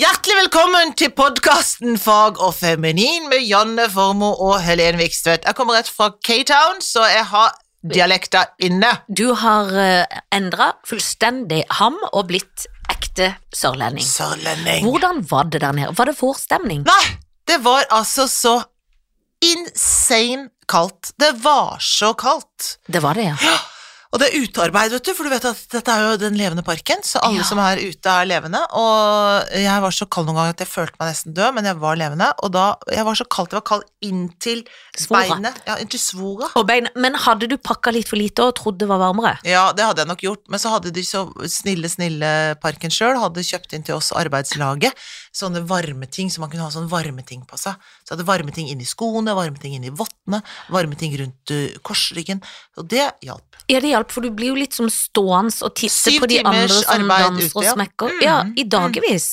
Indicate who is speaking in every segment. Speaker 1: velkommen til podkasten Fag og feminin med Janne Formoe og Helen Vikstvedt. Jeg kommer rett fra K-Town, så jeg har dialekta inne.
Speaker 2: Du har uh, endra fullstendig ham og blitt ekte sørlending.
Speaker 1: Sørlending.
Speaker 2: Hvordan var det der nede? Var det forstemning?
Speaker 1: Nei, det var altså så insane kaldt. Det var så kaldt.
Speaker 2: Det var det, ja.
Speaker 1: Og det er utearbeid, vet du, for du vet at dette er jo den levende parken, så alle
Speaker 2: Ja.
Speaker 1: som er ute er levende, og jeg var så kald noen ganger at jeg følte meg nesten død, men jeg var levende, og da, jeg var så kald, jeg var kald inntil
Speaker 2: Svora.
Speaker 1: beinet, ja, inntil svora.
Speaker 2: Og bein, men hadde du pakka litt for lite og trodd det var varmere?
Speaker 1: Ja, det hadde jeg nok gjort, men så hadde de så snille, snille parken sjøl, hadde kjøpt inn til oss arbeidslaget sånne varmeting, så man kunne ha sånne varmeting på seg. Så hadde varmeting inni skoene, varmeting inni vottene, varmeting rundt eh, korsryggen, og det hjalp.
Speaker 2: Ja, det hjalp, for du blir jo litt som stående og titte
Speaker 1: Syv
Speaker 2: på de andre
Speaker 1: timers
Speaker 2: som
Speaker 1: arbeid
Speaker 2: danser
Speaker 1: ute,
Speaker 2: og
Speaker 1: ja.
Speaker 2: smekker.
Speaker 1: Mm,
Speaker 2: Ja, i dagevis.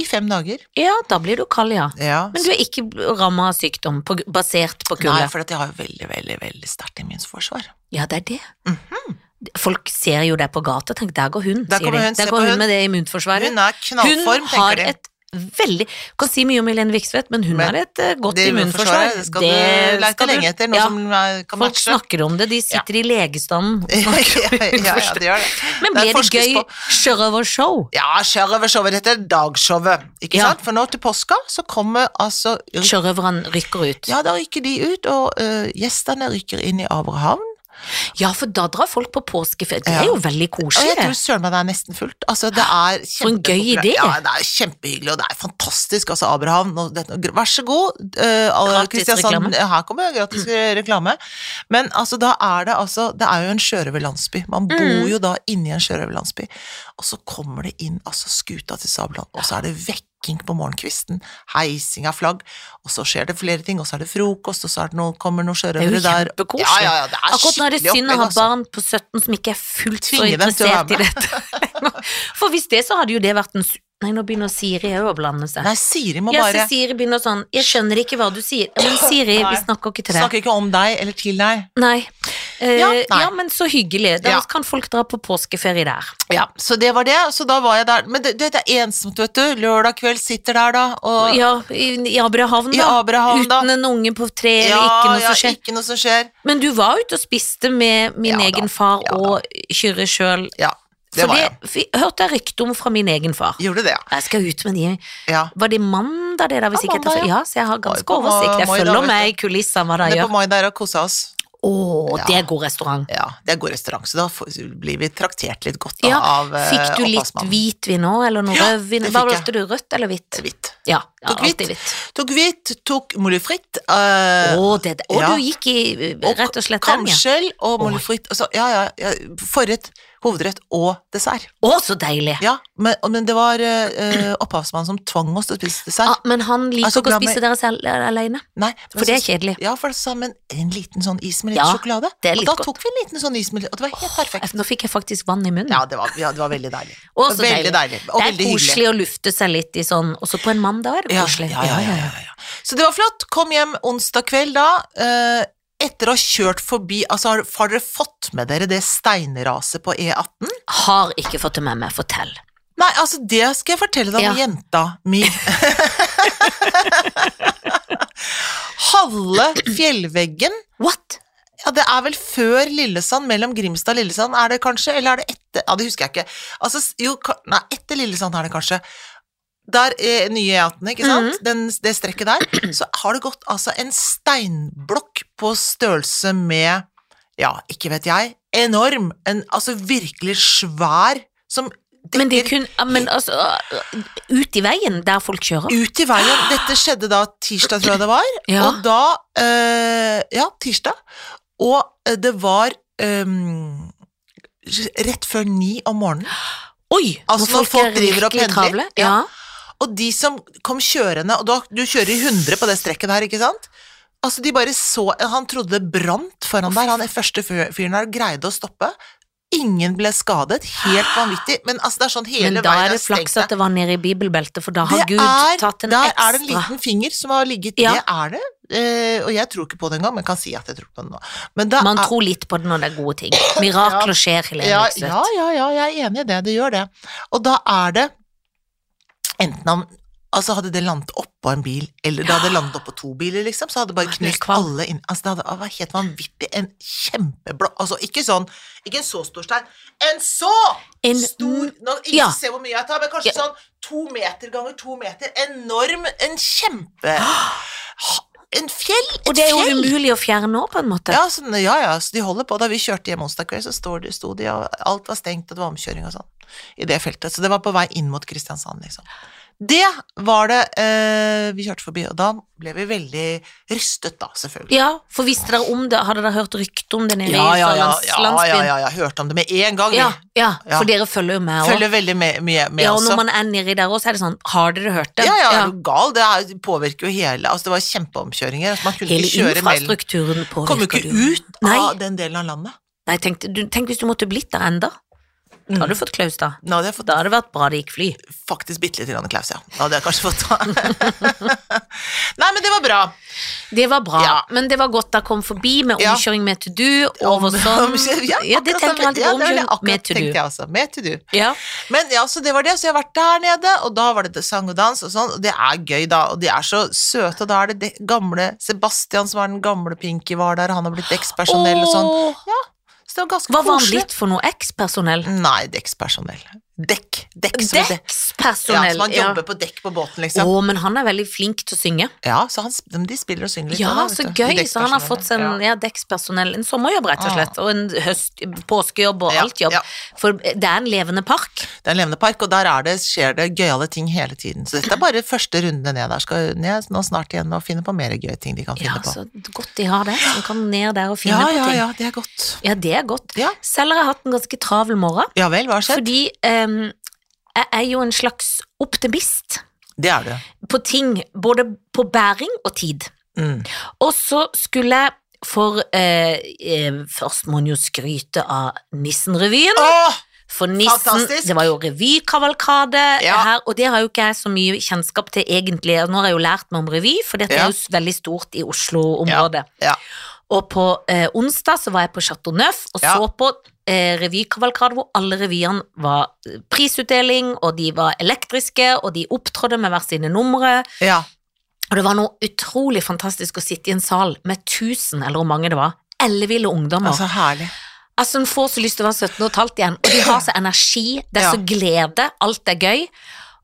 Speaker 1: I fem dager.
Speaker 2: Ja, da blir du kald, ja.
Speaker 1: Ja.
Speaker 2: Men du er ikke ramma av sykdom på, basert på
Speaker 1: Nei,
Speaker 2: kulde?
Speaker 1: for at jeg har jo veldig, veldig, veldig sterkt immunforsvar.
Speaker 2: Ja, det er det. Folk ser jo deg på gata og tenker 'der går hun',
Speaker 1: Mhm. Der
Speaker 2: sier
Speaker 1: kommer
Speaker 2: de.
Speaker 1: hun, se
Speaker 2: der
Speaker 1: på
Speaker 2: går
Speaker 1: hun.
Speaker 2: hun med det immunforsvaret.
Speaker 1: Hun er knallform,
Speaker 2: hun har
Speaker 1: tenker de.
Speaker 2: et veldig Kan si mye om Helene Viksvedt, men hun
Speaker 1: Men
Speaker 2: har et eh, godt
Speaker 1: Det
Speaker 2: immunforsvar.
Speaker 1: det skal du leite
Speaker 2: skal du-
Speaker 1: lenge etter, noe
Speaker 2: ja,
Speaker 1: som eh, kan
Speaker 2: Folk
Speaker 1: matche.
Speaker 2: snakker om det, de sitter i legestanden. og
Speaker 1: ja,
Speaker 2: snakker om
Speaker 1: ja, ja,
Speaker 2: immunforsvar.
Speaker 1: det gjør det.
Speaker 2: Men
Speaker 1: Der
Speaker 2: blir det
Speaker 1: forskes
Speaker 2: gøy
Speaker 1: på.
Speaker 2: sjørøvershow?
Speaker 1: Ja, sjørøvershowet. Dette er dagshowet, ikke
Speaker 2: Ja.
Speaker 1: sant? For nå til påska så kommer altså
Speaker 2: Sjørøverne rykker ut. Ja.
Speaker 1: Ja, da rykker de ut, og øh, gjestene rykker inn i Abrahavn.
Speaker 2: for da drar folk på påskeferie. Det
Speaker 1: Ja.
Speaker 2: er jo veldig
Speaker 1: Og
Speaker 2: koselig,
Speaker 1: jeg
Speaker 2: det.
Speaker 1: tror søren meg det er nesten fullt. Altså, det er
Speaker 2: For en gøy
Speaker 1: kjempepopulært.
Speaker 2: idé.
Speaker 1: Ja, det er kjempehyggelig, og det er fantastisk, altså, Abrahavn. Og det, vær så god, øh, alle
Speaker 2: Gratis
Speaker 1: Kristiansand.
Speaker 2: reklame.
Speaker 1: Her kommer gratis reklame. Men altså, da er det altså Det er jo en sjørøverlandsby. Man
Speaker 2: Mm.
Speaker 1: bor jo da inni en sjørøverlandsby. Og så kommer det inn altså skuta til Sabeltann, og så er det vekking på morgenkvisten, heising av flagg, og så skjer det flere ting, og så er det frokost, og så er det noe, kommer noen
Speaker 2: Det er
Speaker 1: sjørøvere
Speaker 2: jo
Speaker 1: der. Ja,
Speaker 2: kjempekoselig.
Speaker 1: ja, ja, det er
Speaker 2: Akkurat nå er det
Speaker 1: skikkelig
Speaker 2: synd å ha
Speaker 1: opplegg, altså.
Speaker 2: barn på 17 som ikke er fullt så
Speaker 1: Tvinge dem til å være
Speaker 2: interessert i dette. For hvis det, så hadde jo det vært en su- Nei, nå begynner Siri òg å blande seg.
Speaker 1: Nei, Siri må
Speaker 2: Ja,
Speaker 1: bare
Speaker 2: så Siri begynner sånn Jeg skjønner ikke hva du sier. Ja, Men Siri, vi
Speaker 1: Nei.
Speaker 2: snakker ikke til deg.
Speaker 1: snakker ikke om deg eller til deg.
Speaker 2: Nei. Eh,
Speaker 1: Ja,
Speaker 2: ja,
Speaker 1: nei.
Speaker 2: men så hyggelig. Da
Speaker 1: Ja.
Speaker 2: kan folk dra på påskeferie der.
Speaker 1: Ja, Så det var det, så da var jeg der. Men det, det er ensomt, vet du. Lørdag kveld sitter der, da, og
Speaker 2: Ja, i, i Abrahavn,
Speaker 1: I
Speaker 2: da.
Speaker 1: Abrahavn, da.
Speaker 2: Uten en unge på tre, eller
Speaker 1: Ja,
Speaker 2: ikke noe
Speaker 1: ja,
Speaker 2: som skjer.
Speaker 1: ikke noe som skjer.
Speaker 2: Men du var ute og spiste med min
Speaker 1: Ja, da.
Speaker 2: egen far
Speaker 1: Ja, da.
Speaker 2: og Kyrre sjøl.
Speaker 1: Ja, det
Speaker 2: For
Speaker 1: var jeg.
Speaker 2: det f- hørte jeg rykte om fra min egen far.
Speaker 1: Gjorde det, ja.
Speaker 2: Jeg skal ut med de
Speaker 1: ja.
Speaker 2: Var det mandag det der? Hvis
Speaker 1: Ja,
Speaker 2: ikke jeg tar
Speaker 1: mandag,
Speaker 2: feil?
Speaker 1: ja.
Speaker 2: ja, så jeg har
Speaker 1: Var jo
Speaker 2: ganske
Speaker 1: på
Speaker 2: oversikt. Jeg
Speaker 1: Moi da,
Speaker 2: følger
Speaker 1: vet
Speaker 2: med
Speaker 1: du.
Speaker 2: i kulissene hva de
Speaker 1: Nede på
Speaker 2: gjør.
Speaker 1: Mai der og kosa oss.
Speaker 2: Å, det
Speaker 1: Ja.
Speaker 2: er god restaurant.
Speaker 1: Ja, Det er god restaurant, så da får- blir vi traktert litt godt da,
Speaker 2: Ja,
Speaker 1: av eh,
Speaker 2: Fikk du litt
Speaker 1: oppvaskmannen.
Speaker 2: hvitvin òg, eller noe
Speaker 1: Ja,
Speaker 2: rødvin?
Speaker 1: det
Speaker 2: Hva
Speaker 1: fikk jeg.
Speaker 2: valgte du, rødt eller hvitt?
Speaker 1: Hvitt.
Speaker 2: Ja, ja
Speaker 1: Tok
Speaker 2: alltid hvitt.
Speaker 1: Tok hvitt, tok molifritt. eh,
Speaker 2: Å, det, det- å,
Speaker 1: ja.
Speaker 2: du gikk i eh,
Speaker 1: og
Speaker 2: rett og slett den, ja.
Speaker 1: kamskjell og
Speaker 2: Oi.
Speaker 1: molifritt. Og så, ja, ja, ja, forrett, hovedrett og dessert.
Speaker 2: Å, så deilig!
Speaker 1: Ja, men, men det var eh, opphavsmannen som tvang oss til å spise dessert.
Speaker 2: Ah, men han liker
Speaker 1: Altså,
Speaker 2: ikke å
Speaker 1: glad med-
Speaker 2: spise dere selv eh, alene,
Speaker 1: Nei, men
Speaker 2: for det er
Speaker 1: så-
Speaker 2: kjedelig.
Speaker 1: Ja, for det sa han, men en liten sånn is med litt
Speaker 2: Ja,
Speaker 1: sjokolade.
Speaker 2: det er
Speaker 1: og
Speaker 2: litt
Speaker 1: da
Speaker 2: godt.
Speaker 1: tok vi en liten sånn is med litt, og det var helt perfekt.
Speaker 2: Nå fikk jeg faktisk vann i munnen.
Speaker 1: Ja, det var, ja, det var veldig deilig.
Speaker 2: Å, så
Speaker 1: veldig deilig. Og
Speaker 2: Det er
Speaker 1: veldig hyggelig.
Speaker 2: koselig å lufte seg litt i sånn, også på en mandag er det
Speaker 1: Ja,
Speaker 2: koselig.
Speaker 1: ja, ja, ja, ja, ja. Så det var flott. Kom hjem onsdag kveld da. eh, etter å ha kjørt forbi, altså har, har dere fått med dere det steinraset på E18?
Speaker 2: Har ikke fått det med meg, fortell.
Speaker 1: Nei, altså det skal jeg fortelle deg om
Speaker 2: Ja.
Speaker 1: jenta mi. Halve fjellveggen
Speaker 2: What?
Speaker 1: Ja, det er vel før Lillesand, mellom Grimstad og Lillesand, er det kanskje? Eller er det etter? Ja, det husker jeg ikke. Altså, s- jo, ka- nei, etter Lillesand er det kanskje. Der er nye E18, ikke sant?
Speaker 2: Mhm.
Speaker 1: Den, det strekket der. Så har det gått altså en steinblokk på størrelse med, ja, ikke vet jeg, enorm, en, altså virkelig svær, som
Speaker 2: Men, det
Speaker 1: dekker
Speaker 2: kun, ja, men altså, ut i veien der folk kjører?
Speaker 1: ut i veien. Dette skjedde da tirsdag, tror jeg det var.
Speaker 2: Ja.
Speaker 1: Og da eh, Ja, tirsdag. Og eh, det var ehm, rett før ni om morgenen.
Speaker 2: Oi!
Speaker 1: Altså, når folk
Speaker 2: er
Speaker 1: driver og
Speaker 2: virkelig
Speaker 1: pendler,
Speaker 2: travle.
Speaker 1: ja.
Speaker 2: Ja.
Speaker 1: Og de som kom kjørende Og da, du kjører i 100 på det strekket der, ikke sant? Altså, de bare så Han trodde det brant foran der. Han første fyr- fyren der greide å stoppe. Ingen ble skadet. Helt vanvittig. Men altså, det er sånn hele
Speaker 2: Men da
Speaker 1: veien
Speaker 2: er det flaks at det var nede i bibelbeltet, for da har
Speaker 1: Det
Speaker 2: Gud
Speaker 1: er-
Speaker 2: tatt en
Speaker 1: der
Speaker 2: ekstra.
Speaker 1: er det en liten finger som har ligget
Speaker 2: Ja.
Speaker 1: Det er det. Eh, og jeg tror ikke på det engang, men kan si at jeg tror på det nå. Men da
Speaker 2: Man
Speaker 1: er,
Speaker 2: tror litt på det når det er gode ting. Mirakler skjer, Helene
Speaker 1: ja,
Speaker 2: Vikstvedt.
Speaker 1: ja, ja, ja, jeg er enig i det. Det gjør det. Og da er det enten han Altså Hadde det landet oppå en bil, eller det hadde landet oppå to biler, liksom, så hadde det bare
Speaker 2: Jeg blir
Speaker 1: knust
Speaker 2: kvalm.
Speaker 1: alle inn Altså, det hadde det var helt vanvittig. En kjempeblå Altså, ikke sånn Ikke en så stor stein. En så
Speaker 2: En-
Speaker 1: stor nå, Ikke
Speaker 2: ja.
Speaker 1: se hvor mye jeg tar, men kanskje
Speaker 2: Ja.
Speaker 1: sånn to meter ganger to meter. Enorm En kjempe Ha- En fjell! Et
Speaker 2: Og det er jo
Speaker 1: fjell!
Speaker 2: umulig å fjerne nå, på en måte.
Speaker 1: Ja, sånn, ja, ja, så de holder på. Da vi kjørte hjem onsdag kveld, så sto de, sto de og alt var stengt, og det var omkjøring og sånn i det feltet. Så det var på vei inn mot Kristiansand, liksom. Det var det eh, vi kjørte forbi, og da ble vi veldig rystet, da, selvfølgelig.
Speaker 2: Ja, for visste dere om det? Hadde dere hørt rykte om det nede
Speaker 1: Ja, ja, ja,
Speaker 2: i
Speaker 1: ja, ja,
Speaker 2: landsbyen?
Speaker 1: ja, ja, hørte om det med en gang,
Speaker 2: Ja,
Speaker 1: vi.
Speaker 2: ja,
Speaker 1: Ja.
Speaker 2: for dere følger jo med òg.
Speaker 1: Følger veldig med, med, med
Speaker 2: Ja, og
Speaker 1: også.
Speaker 2: når man er nedi der òg, så er det sånn Har dere hørt det?
Speaker 1: Ja, ja, er du gal? Det er, påvirker jo hele Altså, det var kjempeomkjøringer. Altså, man kunne
Speaker 2: Hele
Speaker 1: ikke kjøre mellom
Speaker 2: infrastrukturen
Speaker 1: Kom jo
Speaker 2: påvirker
Speaker 1: ikke
Speaker 2: det jo.
Speaker 1: ut
Speaker 2: Nei.
Speaker 1: av den delen av landet.
Speaker 2: Nei, tenk, du, tenk hvis du måtte blitt der enda. Da hadde du
Speaker 1: Mm.
Speaker 2: fått klaus, da.
Speaker 1: Nå hadde jeg fått
Speaker 2: Da hadde det vært bra det gikk fly.
Speaker 1: faktisk bitte litt grann klaus, ja. Da hadde jeg kanskje fått Nei, men det var bra.
Speaker 2: Det var bra,
Speaker 1: Ja.
Speaker 2: men det var godt dere kom forbi med
Speaker 1: Ja.
Speaker 2: omkjøring med to do, over sånn.
Speaker 1: Ja,
Speaker 2: Ja, det
Speaker 1: akkurat
Speaker 2: tenker
Speaker 1: samme.
Speaker 2: jeg alltid på
Speaker 1: Ja, det er det
Speaker 2: omkjøring
Speaker 1: akkurat
Speaker 2: med to
Speaker 1: tenkte
Speaker 2: do.
Speaker 1: jeg også. Med to do.
Speaker 2: Ja.
Speaker 1: Men ja, så det var det. Så jeg har vært der nede, og da var det sang og dans og sånn, og det er gøy, da. Og de er så søte, og da er det det gamle Sebastian, som er den gamle Pinky, var der, han har blitt dekkspersonell og sånn.
Speaker 2: Åh,
Speaker 1: Så det var ganske
Speaker 2: Hva var han
Speaker 1: koselig.
Speaker 2: blitt for noe? Ekspersonell?
Speaker 1: Nei, dekkspersonell. Dekk. Dekk som dekk. Ja,
Speaker 2: Dekkspersonell!
Speaker 1: så man
Speaker 2: ja.
Speaker 1: jobber på dekk på båten,
Speaker 2: Å,
Speaker 1: liksom.
Speaker 2: men han er veldig flink til å synge.
Speaker 1: Ja, så han, sp- de spiller og synger litt.
Speaker 2: Ja,
Speaker 1: da, vet
Speaker 2: så
Speaker 1: du.
Speaker 2: gøy! Så han har
Speaker 1: Dekkspersonellet.
Speaker 2: fått seg en
Speaker 1: ja.
Speaker 2: ja, dekkspersonell, en sommerjobb, rett og
Speaker 1: Ah.
Speaker 2: slett. Og en høst, påskejobb og
Speaker 1: Ja,
Speaker 2: alt jobb.
Speaker 1: ja.
Speaker 2: For det er en levende park.
Speaker 1: Det er en levende park, og der er det, skjer det gøyale ting hele tiden. Så dette er bare første runde ned der. Skal ned nå snart igjen og finne på mer gøye ting de kan
Speaker 2: Ja,
Speaker 1: finne på.
Speaker 2: så godt de har det. Så man kan ned der og finne
Speaker 1: Ja,
Speaker 2: på
Speaker 1: ja,
Speaker 2: ting.
Speaker 1: ja, det er godt.
Speaker 2: Ja, det er godt.
Speaker 1: Ja.
Speaker 2: Selv har jeg hatt en ganske travel morgen.
Speaker 1: Ja vel, hva har skjedd?
Speaker 2: Fordi ehm, jeg er jo en slags optimist
Speaker 1: Det er det.
Speaker 2: på ting, både på bæring og tid.
Speaker 1: Mm.
Speaker 2: Og så skulle jeg for eh, eh, Først må en jo skryte av Nissenrevyen.
Speaker 1: Åh!
Speaker 2: For nissen,
Speaker 1: Fantastisk!
Speaker 2: det var jo revykavalkade
Speaker 1: Ja.
Speaker 2: her, og det har jo ikke jeg så mye kjennskap til egentlig. og Nå har jeg jo lært meg om revy, for det
Speaker 1: Ja.
Speaker 2: er jo s- veldig stort i Oslo-området.
Speaker 1: Ja.
Speaker 2: Og på eh, onsdag så var jeg på Chateau Neuf og
Speaker 1: Ja.
Speaker 2: så på eh, revykavalkade hvor alle revyene var eh, prisutdeling, og de var elektriske, og de opptrådde med hver sine numre.
Speaker 1: Ja.
Speaker 2: Og det var noe utrolig fantastisk å sitte i en sal med tusen, eller hvor mange det var, elleville ungdommer.
Speaker 1: Altså, herlig.
Speaker 2: Altså, En får så lyst til å være 17 og et halvt igjen. Og de har så energi, det er
Speaker 1: Ja.
Speaker 2: så glede, alt er gøy.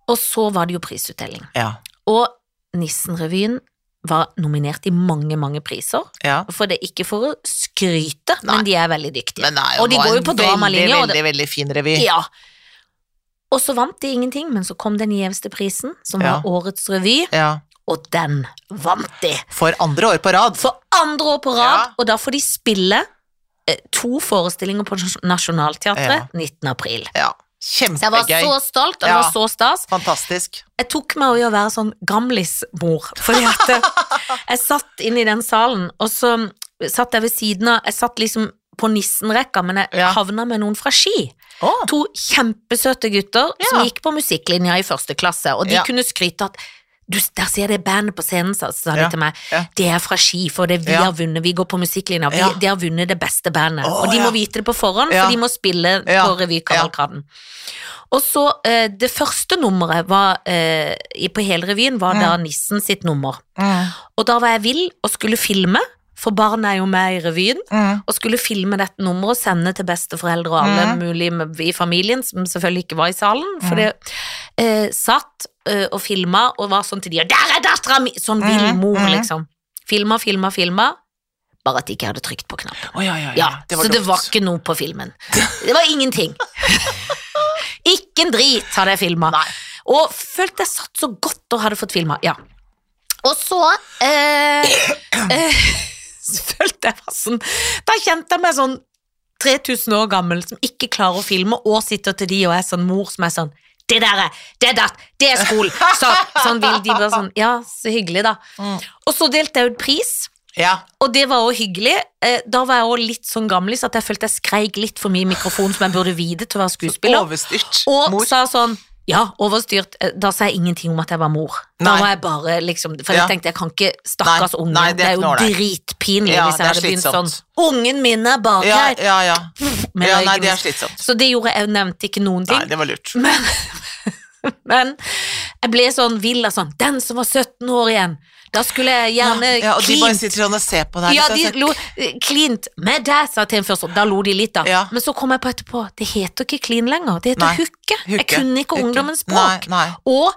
Speaker 2: Og så var det jo prisutdeling.
Speaker 1: Ja.
Speaker 2: Og Nissenrevyen var nominert i mange, mange priser.
Speaker 1: ja.
Speaker 2: For det er ikke for å skryte,
Speaker 1: Nei.
Speaker 2: men de er veldig dyktige.
Speaker 1: Men det er
Speaker 2: Og de
Speaker 1: var
Speaker 2: går jo
Speaker 1: en
Speaker 2: på dramalinje,
Speaker 1: Veldig,
Speaker 2: og det-
Speaker 1: veldig, veldig fin revy.
Speaker 2: Ja. Og så vant de ingenting, men så kom den gjeveste prisen, som
Speaker 1: Ja.
Speaker 2: var Årets revy,
Speaker 1: Ja.
Speaker 2: og den vant de.
Speaker 1: For andre år på rad.
Speaker 2: For andre år på rad,
Speaker 1: Ja.
Speaker 2: og da får de spille eh, to forestillinger på Nas- Nationaltheatret 19. april.
Speaker 1: Ja.
Speaker 2: Så jeg var
Speaker 1: Kjempegøy.
Speaker 2: så stolt, og det
Speaker 1: Ja.
Speaker 2: var så stas.
Speaker 1: Fantastisk.
Speaker 2: Jeg tok meg i å være sånn gamlismor, fordi at eh, jeg satt inne i den salen, og så satt jeg ved siden av Jeg satt liksom på nissenrekka, men jeg
Speaker 1: Ja.
Speaker 2: havna med noen fra Ski.
Speaker 1: Åh.
Speaker 2: To kjempesøte gutter som
Speaker 1: Ja.
Speaker 2: gikk på musikklinja i første klasse, og de
Speaker 1: Ja.
Speaker 2: kunne skryte at du, der ser jeg det bandet på scenen, sa, sa de
Speaker 1: Ja,
Speaker 2: til meg.
Speaker 1: ja.
Speaker 2: Det er fra Ski, for det er vi
Speaker 1: Ja.
Speaker 2: har vunnet. Vi går på musikklinja. Vi,
Speaker 1: Ja.
Speaker 2: De har vunnet det beste bandet.
Speaker 1: Å,
Speaker 2: og de
Speaker 1: ja.
Speaker 2: må vite det på forhånd,
Speaker 1: Ja.
Speaker 2: for de må spille
Speaker 1: Ja.
Speaker 2: på revykavalkaden. Og så eh, Det første nummeret var, eh, i- på hele revyen var da Nissen sitt nummer.
Speaker 1: Mm.
Speaker 2: Og da var jeg vill og skulle filme, for barna er jo med i revyen.
Speaker 1: Mm.
Speaker 2: Og skulle filme dette nummeret og sende til besteforeldre og alle mulige med- i familien, som selvfølgelig ikke var i salen.
Speaker 1: Mm.
Speaker 2: For det eh, satt eh, og filma og var sånn til de og 'Der er dattera mi!' Sånn vill
Speaker 1: Mm,
Speaker 2: mor,
Speaker 1: mm.
Speaker 2: liksom. Filma, filma, filma. Bare at de ikke hadde trykt på knappen.
Speaker 1: Å, ja, ja, ja.
Speaker 2: Ja, så det
Speaker 1: dumt.
Speaker 2: var ikke noe på filmen. Det var ingenting. ikke en drit hadde jeg filma.
Speaker 1: Nei.
Speaker 2: Og følte jeg satt så godt og hadde fått filma. Ja. Og så eh, eh, så følte jeg meg sånn Da kjente jeg meg sånn 3000 år gammel som ikke klarer å filme, og sitter til de og er sånn mor som er sånn det der er, det er datt, det er skolen! Så, sånn vil de bare sånn, ja, så hyggelig, da.
Speaker 1: Mm.
Speaker 2: Og så delte jeg ut pris,
Speaker 1: Ja.
Speaker 2: og det var også hyggelig. Eh, Da var jeg også litt sånn gammel, så at jeg følte jeg skreik litt for mye i mikrofonen, som jeg burde vite til å være skuespiller.
Speaker 1: Overstyrt.
Speaker 2: Og
Speaker 1: Mor.
Speaker 2: sa sånn, ja, overstyrt. Eh, Da sa jeg ingenting om at jeg var mor. Da
Speaker 1: Nei.
Speaker 2: var jeg bare liksom, for jeg
Speaker 1: Ja.
Speaker 2: tenkte, jeg kan ikke, stakkars
Speaker 1: Nei,
Speaker 2: unge,
Speaker 1: nei, det
Speaker 2: det
Speaker 1: er
Speaker 2: er jo
Speaker 1: knallhardt.
Speaker 2: dritpinlig
Speaker 1: Ja, det
Speaker 2: hvis
Speaker 1: er
Speaker 2: jeg hadde begynt sånn,
Speaker 1: slitsomt.
Speaker 2: ungen min er bak
Speaker 1: Ja,
Speaker 2: her.
Speaker 1: ja, ja.
Speaker 2: med
Speaker 1: ja. Nei,
Speaker 2: røyken.
Speaker 1: det er slitsomt.
Speaker 2: Så det gjorde jeg, jeg nevnte ikke noen
Speaker 1: Nei,
Speaker 2: ting.
Speaker 1: det var lurt.
Speaker 2: Men Jeg ble sånn vill av sånn Den som var 17 år igjen! Da skulle jeg gjerne
Speaker 1: ja, og de bare
Speaker 2: klint
Speaker 1: sitter sånn og ser på deg.
Speaker 2: Ja,
Speaker 1: litt,
Speaker 2: de
Speaker 1: og så-
Speaker 2: lo eh, Klint med deg, sa jeg til en først. og Da lo de litt, da.
Speaker 1: Ja.
Speaker 2: Men så kom jeg på etterpå det heter ikke klin lenger. Det
Speaker 1: Nei.
Speaker 2: heter hooke. Jeg
Speaker 1: Hooke,
Speaker 2: kunne ikke
Speaker 1: hooke.
Speaker 2: ungdommens
Speaker 1: Nei,
Speaker 2: språk.
Speaker 1: nei.
Speaker 2: Og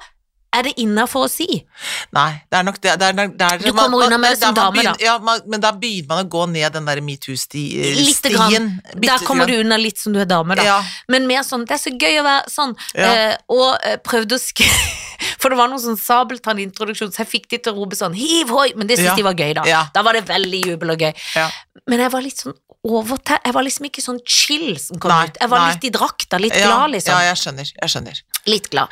Speaker 2: er det innafor å si?
Speaker 1: Nei, det er nok det, det, er, nok- det er,
Speaker 2: Du kommer unna med det
Speaker 1: der
Speaker 2: som
Speaker 1: man
Speaker 2: dame, da.
Speaker 1: begynner- Ja, man, men da begynner man å gå ned den der metoo-stien.
Speaker 2: Lite grann. Der kommer du unna litt som du er dame, da.
Speaker 1: Ja.
Speaker 2: Men mer sånn Det er så gøy å være sånn.
Speaker 1: Ja.
Speaker 2: Eh, og eh, prøvde å skrive For det var noen sånn sabeltannintroduksjon, så jeg fikk de til å rope sånn hiv hoi, men det syntes
Speaker 1: Ja.
Speaker 2: de var gøy, da.
Speaker 1: Ja.
Speaker 2: Da var det veldig jubel og gøy.
Speaker 1: Ja.
Speaker 2: Men jeg var litt sånn overta... Jeg var liksom ikke sånn chill som kom
Speaker 1: Nei,
Speaker 2: ut. Jeg var
Speaker 1: nei.
Speaker 2: litt i drakta, litt
Speaker 1: ja,
Speaker 2: glad, liksom.
Speaker 1: Ja, jeg skjønner. Jeg skjønner.
Speaker 2: Litt glad.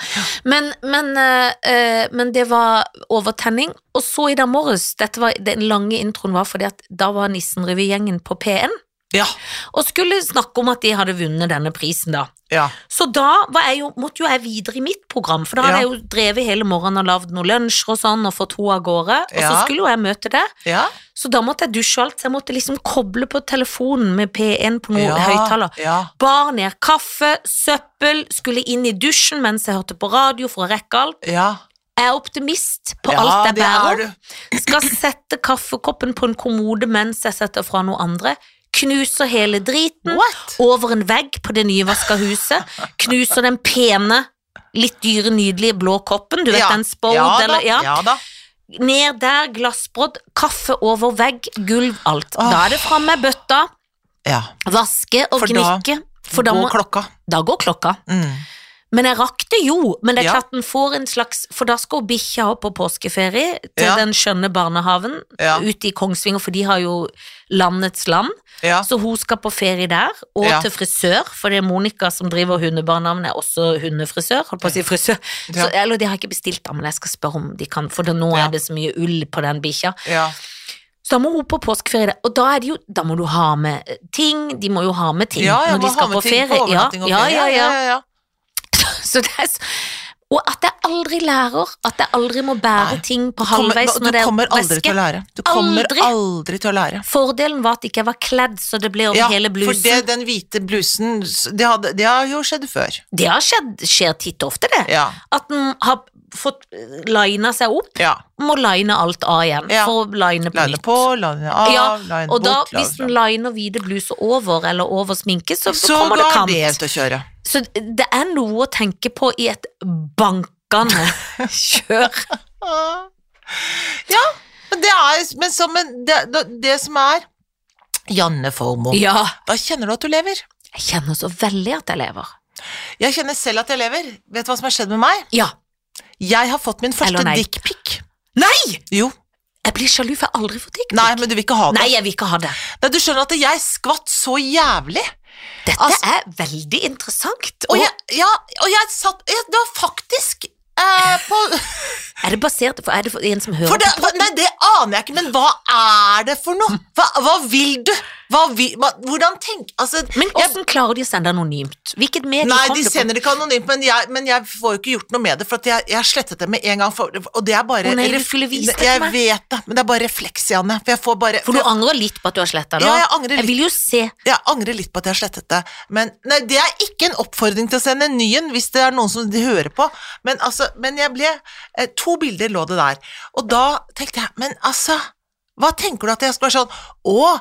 Speaker 2: Men, men, eh, eh, men det var overtenning. Og så i dag morges, dette var, den lange introen var fordi at da var Nissen-revygjengen på P1
Speaker 1: Ja,
Speaker 2: og skulle snakke om at de hadde vunnet denne prisen, da.
Speaker 1: ja.
Speaker 2: Så da var jeg jo, måtte jo jeg videre i mitt program, for da
Speaker 1: Ja.
Speaker 2: hadde jeg jo drevet hele morgenen og lagd noen lunsjer og sånn og fått henne av gårde, og så
Speaker 1: Ja.
Speaker 2: skulle jo jeg møte det.
Speaker 1: ja.
Speaker 2: Så da måtte jeg dusje og alt, så jeg måtte liksom koble på telefonen med P1 på noe
Speaker 1: ja,
Speaker 2: høyttaler.
Speaker 1: Ja.
Speaker 2: Bar ned kaffe, søppel, skulle inn i dusjen mens jeg hørte på radio for å rekke alt.
Speaker 1: ja.
Speaker 2: Jeg er optimist på
Speaker 1: ja,
Speaker 2: alt jeg
Speaker 1: det er
Speaker 2: bærer.
Speaker 1: du.
Speaker 2: Skal sette kaffekoppen på en kommode mens jeg setter fra noe andre. Knuser hele driten
Speaker 1: What?
Speaker 2: over en vegg på det nyvaska huset. Knuser den pene, litt dyre, nydelige blå koppen. Du vet
Speaker 1: Ja.
Speaker 2: den Spode
Speaker 1: ja, da,
Speaker 2: eller
Speaker 1: ja.
Speaker 2: ja.
Speaker 1: da.
Speaker 2: Ned der, glassbrodd, kaffe over vegg, gulv, alt.
Speaker 1: Åh.
Speaker 2: Da er det fram med bøtta,
Speaker 1: Ja.
Speaker 2: vaske og
Speaker 1: For da
Speaker 2: gnikke. For da,
Speaker 1: Gå
Speaker 2: må,
Speaker 1: klokka.
Speaker 2: da går klokka.
Speaker 1: Mm.
Speaker 2: Men jeg rakk det jo. Men det er
Speaker 1: Ja.
Speaker 2: klart den får en slags For da skal bikkja opp på påskeferie til
Speaker 1: Ja.
Speaker 2: den skjønne barnehaven
Speaker 1: Ja.
Speaker 2: ute i Kongsvinger, for de har jo landets land.
Speaker 1: Ja.
Speaker 2: Så hun skal på ferie der, og
Speaker 1: Ja.
Speaker 2: til frisør, for det er Monica som driver hundebarnehaven, er også hundefrisør. Holdt på å si frisør.
Speaker 1: Ja.
Speaker 2: Så, eller det har jeg ikke bestilt, da, men jeg skal spørre om de kan, for det- nå
Speaker 1: Ja.
Speaker 2: er det så mye ull på den bikkja.
Speaker 1: ja.
Speaker 2: Så da må hun på påskeferie, og da, er det jo, da må du ha med ting. De må jo ha med ting
Speaker 1: ja, jeg
Speaker 2: når de
Speaker 1: må ha
Speaker 2: skal
Speaker 1: med
Speaker 2: på
Speaker 1: ting
Speaker 2: ferie.
Speaker 1: på overnatting og
Speaker 2: ja,
Speaker 1: ferie.
Speaker 2: ja, ja, ja.
Speaker 1: ja, ja.
Speaker 2: Så det er så og at jeg aldri lærer, at jeg aldri må bære
Speaker 1: Nei.
Speaker 2: ting på
Speaker 1: Kommer,
Speaker 2: halvveis når
Speaker 1: du
Speaker 2: det er
Speaker 1: kommer aldri
Speaker 2: væske.
Speaker 1: til å lære. Du kommer
Speaker 2: Aldri.
Speaker 1: aldri, til å lære.
Speaker 2: Fordelen var at ikke jeg var kledd, så det ble over
Speaker 1: Ja,
Speaker 2: hele
Speaker 1: for
Speaker 2: blusen.
Speaker 1: det,
Speaker 2: Det,
Speaker 1: den hvite blusen, s- det, hadde, det har jo skjedd før.
Speaker 2: har skjedd, skjer titt og ofte, det.
Speaker 1: Ja.
Speaker 2: At en har fått eh, lina seg opp,
Speaker 1: ja.
Speaker 2: må line alt av igjen.
Speaker 1: Ja.
Speaker 2: For å line på
Speaker 1: Line
Speaker 2: nytt.
Speaker 1: på, line av,
Speaker 2: Ja,
Speaker 1: line bort.
Speaker 2: og da,
Speaker 1: line
Speaker 2: hvis
Speaker 1: fra.
Speaker 2: en liner hvite bluser over eller over sminke, så, så
Speaker 1: så
Speaker 2: kommer det
Speaker 1: går
Speaker 2: kant.
Speaker 1: det ut å kjøre.
Speaker 2: Så det er noe å tenke på i et bankende kjør.
Speaker 1: Ja, men det er men som en, det, det, det som er Janne Formoe,
Speaker 2: Ja.
Speaker 1: da kjenner du at du lever.
Speaker 2: Jeg kjenner så veldig at jeg lever.
Speaker 1: Jeg kjenner selv at jeg lever. Vet du hva som har skjedd med meg?
Speaker 2: Ja.
Speaker 1: Jeg har fått min første
Speaker 2: Eller nei.
Speaker 1: dickpic.
Speaker 2: Nei!
Speaker 1: Jo.
Speaker 2: Jeg blir sjalu, for jeg har aldri fått dick.
Speaker 1: Nei, men du vil ikke ha det.
Speaker 2: Nei, jeg vil ikke ha det.
Speaker 1: Nei, du skjønner at jeg skvatt så jævlig.
Speaker 2: Dette
Speaker 1: Altså-
Speaker 2: er veldig interessant.
Speaker 1: Og
Speaker 2: Og
Speaker 1: jeg, ja, og jeg satt jeg, Det var faktisk eh, på
Speaker 2: er det basert for, Er det for en som hører
Speaker 1: for det,
Speaker 2: på?
Speaker 1: for, Nei, det aner jeg ikke, men hva er det for noe? Hva, hva vil du? Hva vil, hva, hvordan tenk... Altså,
Speaker 2: Men
Speaker 1: jeg
Speaker 2: hvordan klarer de å sende anonymt? Hvilket medie
Speaker 1: Nei,
Speaker 2: kom
Speaker 1: de
Speaker 2: det på?
Speaker 1: sender det ikke anonymt, men jeg, men jeg får jo ikke gjort noe med det, for at jeg, jeg slettet det med en gang. For, og det er bare
Speaker 2: Å nei, du
Speaker 1: ref-
Speaker 2: skulle vist det til
Speaker 1: Jeg
Speaker 2: meg.
Speaker 1: vet det, men det er bare refleks, Janne. For jeg får bare
Speaker 2: For du angrer litt på at du har sletta det?
Speaker 1: Ja, jeg angrer litt.
Speaker 2: Jeg vil jo se.
Speaker 1: jeg angrer litt på at jeg har slettet det. Men nei, det er ikke en oppfordring til å sende en ny en, hvis det er noen som de hører på. Men altså, men jeg ble eh, To bilder lå det der. Og da tenkte jeg, men altså Hva tenker du at jeg skal være sånn Å,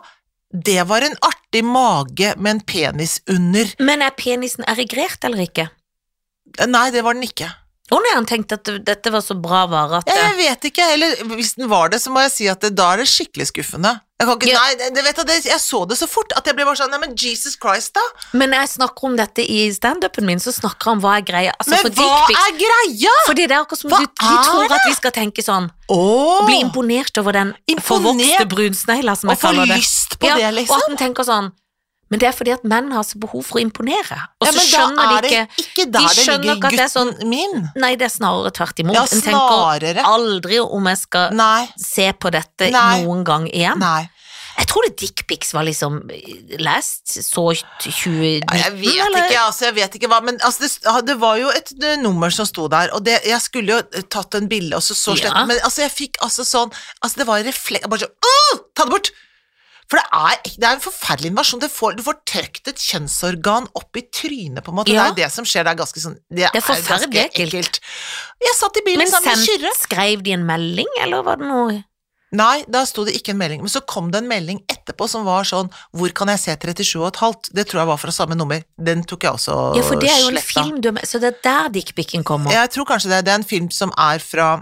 Speaker 1: det var en artig mage med en penis under.
Speaker 2: Men er penisen erigert eller ikke?
Speaker 1: Nei, det var den ikke.
Speaker 2: Å nei, han tenkte at dette var så bra vare at
Speaker 1: Ja, jeg vet ikke, eller hvis den var det, så må jeg si at det, da er det skikkelig skuffende. Jeg, kan ikke,
Speaker 2: Ja.
Speaker 1: nei, det- det, vet du, det, jeg så det så fort at jeg ble bare sånn Nei, men Jesus Christ, da!
Speaker 2: Men når jeg snakker om dette i standupen min, så snakker han om hva er greia. Altså,
Speaker 1: Men
Speaker 2: for
Speaker 1: hva
Speaker 2: dickpics-
Speaker 1: er greia?!
Speaker 2: Fordi det er akkurat som
Speaker 1: Hva
Speaker 2: du, de
Speaker 1: er
Speaker 2: tror at vi skal tenke sånn.
Speaker 1: Åh.
Speaker 2: Bli imponert over den
Speaker 1: Imponert.
Speaker 2: forvokste brunsnegla, som
Speaker 1: Og
Speaker 2: jeg
Speaker 1: få
Speaker 2: kaller det.
Speaker 1: lyst på det,
Speaker 2: Og
Speaker 1: liksom.
Speaker 2: at en tenker sånn Men det er fordi at menn har så behov for å imponere. Og
Speaker 1: Ja,
Speaker 2: så
Speaker 1: men da
Speaker 2: skjønner
Speaker 1: er
Speaker 2: de
Speaker 1: det
Speaker 2: ikke
Speaker 1: ikke der det
Speaker 2: skjønner
Speaker 1: ligger
Speaker 2: ikke at det er
Speaker 1: gutten
Speaker 2: sånn-
Speaker 1: min.
Speaker 2: Nei, det er snarere tvert imot.
Speaker 1: Ja,
Speaker 2: en tenker
Speaker 1: snarere.
Speaker 2: aldri om jeg skal
Speaker 1: Nei.
Speaker 2: se på dette
Speaker 1: Nei.
Speaker 2: noen gang igjen.
Speaker 1: Nei.
Speaker 2: Jeg tror det dickpics var liksom last, så t- 2019,
Speaker 1: Ja, Jeg vet ikke, altså, jeg vet ikke hva, men altså, det, ja, det var jo et eh, nummer som sto der, og det, jeg skulle jo eh, tatt en bilde, og så så slett,
Speaker 2: Ja.
Speaker 1: men altså, jeg fikk altså sånn, altså, det var en refleks, jeg bare sånn, åh, ta det bort! For det er, det er en forferdelig invasjon. Det får, du får trøkt et kjønnsorgan opp i trynet, på en måte.
Speaker 2: Ja.
Speaker 1: Det er jo det som skjer. Det er ganske sånn Det,
Speaker 2: er forferdelig
Speaker 1: ganske
Speaker 2: ekkelt.
Speaker 1: Jeg satt i bilen
Speaker 2: Men
Speaker 1: sammen med
Speaker 2: sendt-
Speaker 1: Kyrre.
Speaker 2: skrev de en melding, eller var det noe
Speaker 1: Nei, da sto det ikke en melding. Men så kom det en melding etterpå som var sånn Hvor kan jeg se 37,5? Det tror jeg var fra samme nummer. Den tok jeg også
Speaker 2: Ja, for det er jo en
Speaker 1: sletta.
Speaker 2: film du har med, så det er der dickpicen kommer.
Speaker 1: Jeg tror kanskje det. Det er en film som er fra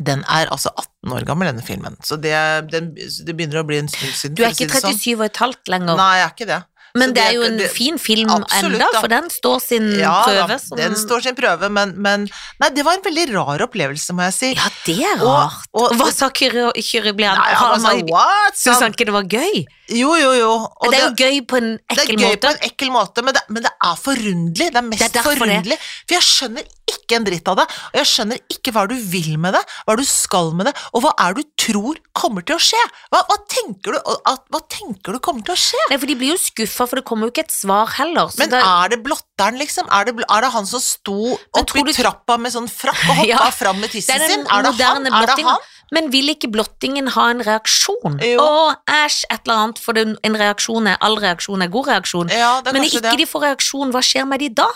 Speaker 1: Den er altså 18 år gammel, denne filmen. Så det, den, det begynner å bli en stund siden.
Speaker 2: Du er
Speaker 1: for å si
Speaker 2: ikke
Speaker 1: det sånn.
Speaker 2: 37 og et halvt lenger,
Speaker 1: Nei, jeg er ikke det.
Speaker 2: men
Speaker 1: Så
Speaker 2: det er jo en
Speaker 1: det-
Speaker 2: fin film
Speaker 1: Absolutt,
Speaker 2: enda,
Speaker 1: da.
Speaker 2: for den står sin Sånn-
Speaker 1: ja,
Speaker 2: Mm, prøve.
Speaker 1: da,
Speaker 2: som-
Speaker 1: den står sin prøve, men, men Nei, det var en veldig rar opplevelse, må jeg si.
Speaker 2: Ja, det er
Speaker 1: Og-
Speaker 2: rart.
Speaker 1: og-
Speaker 2: Hva sa Kyrre? Kyrre ble han,
Speaker 1: Nei, han var sånn What? sa
Speaker 2: Syns
Speaker 1: han.
Speaker 2: han ikke det var gøy?
Speaker 1: Jo, jo, jo. Og
Speaker 2: det er jo gøy på en
Speaker 1: det er
Speaker 2: ekkel
Speaker 1: gøy på
Speaker 2: måte.
Speaker 1: en ekkel måte, men det, men det er forunderlig. Det er mest
Speaker 2: Det er derfor det.
Speaker 1: forunderlig. For jeg skjønner ikke en dritt av det. Og jeg skjønner ikke hva du vil med det, hva du skal med det, og hva er det du tror kommer til å skje? Hva, hva, tenker, du, at, hva tenker du kommer til å skje?
Speaker 2: Nei, for de blir jo skuffa, for det kommer jo ikke et svar heller. Så
Speaker 1: Men
Speaker 2: da,
Speaker 1: er det blotteren, liksom? Er det, bl- er det han som sto
Speaker 2: tror
Speaker 1: oppi
Speaker 2: du-
Speaker 1: trappa med sånn frakk og hoppa
Speaker 2: Ja,
Speaker 1: fram med
Speaker 2: det
Speaker 1: tissen
Speaker 2: er den
Speaker 1: sin? Er det han?
Speaker 2: moderne
Speaker 1: Er det
Speaker 2: blottingen.
Speaker 1: han?
Speaker 2: Men vil ikke blottingen ha en reaksjon?
Speaker 1: Jo.
Speaker 2: Å, æsj, et eller annet, for det, en reaksjon er all reaksjon er god reaksjon.
Speaker 1: Ja, det er
Speaker 2: Men
Speaker 1: kanskje
Speaker 2: ikke
Speaker 1: det.
Speaker 2: de får reaksjon, hva skjer med de da?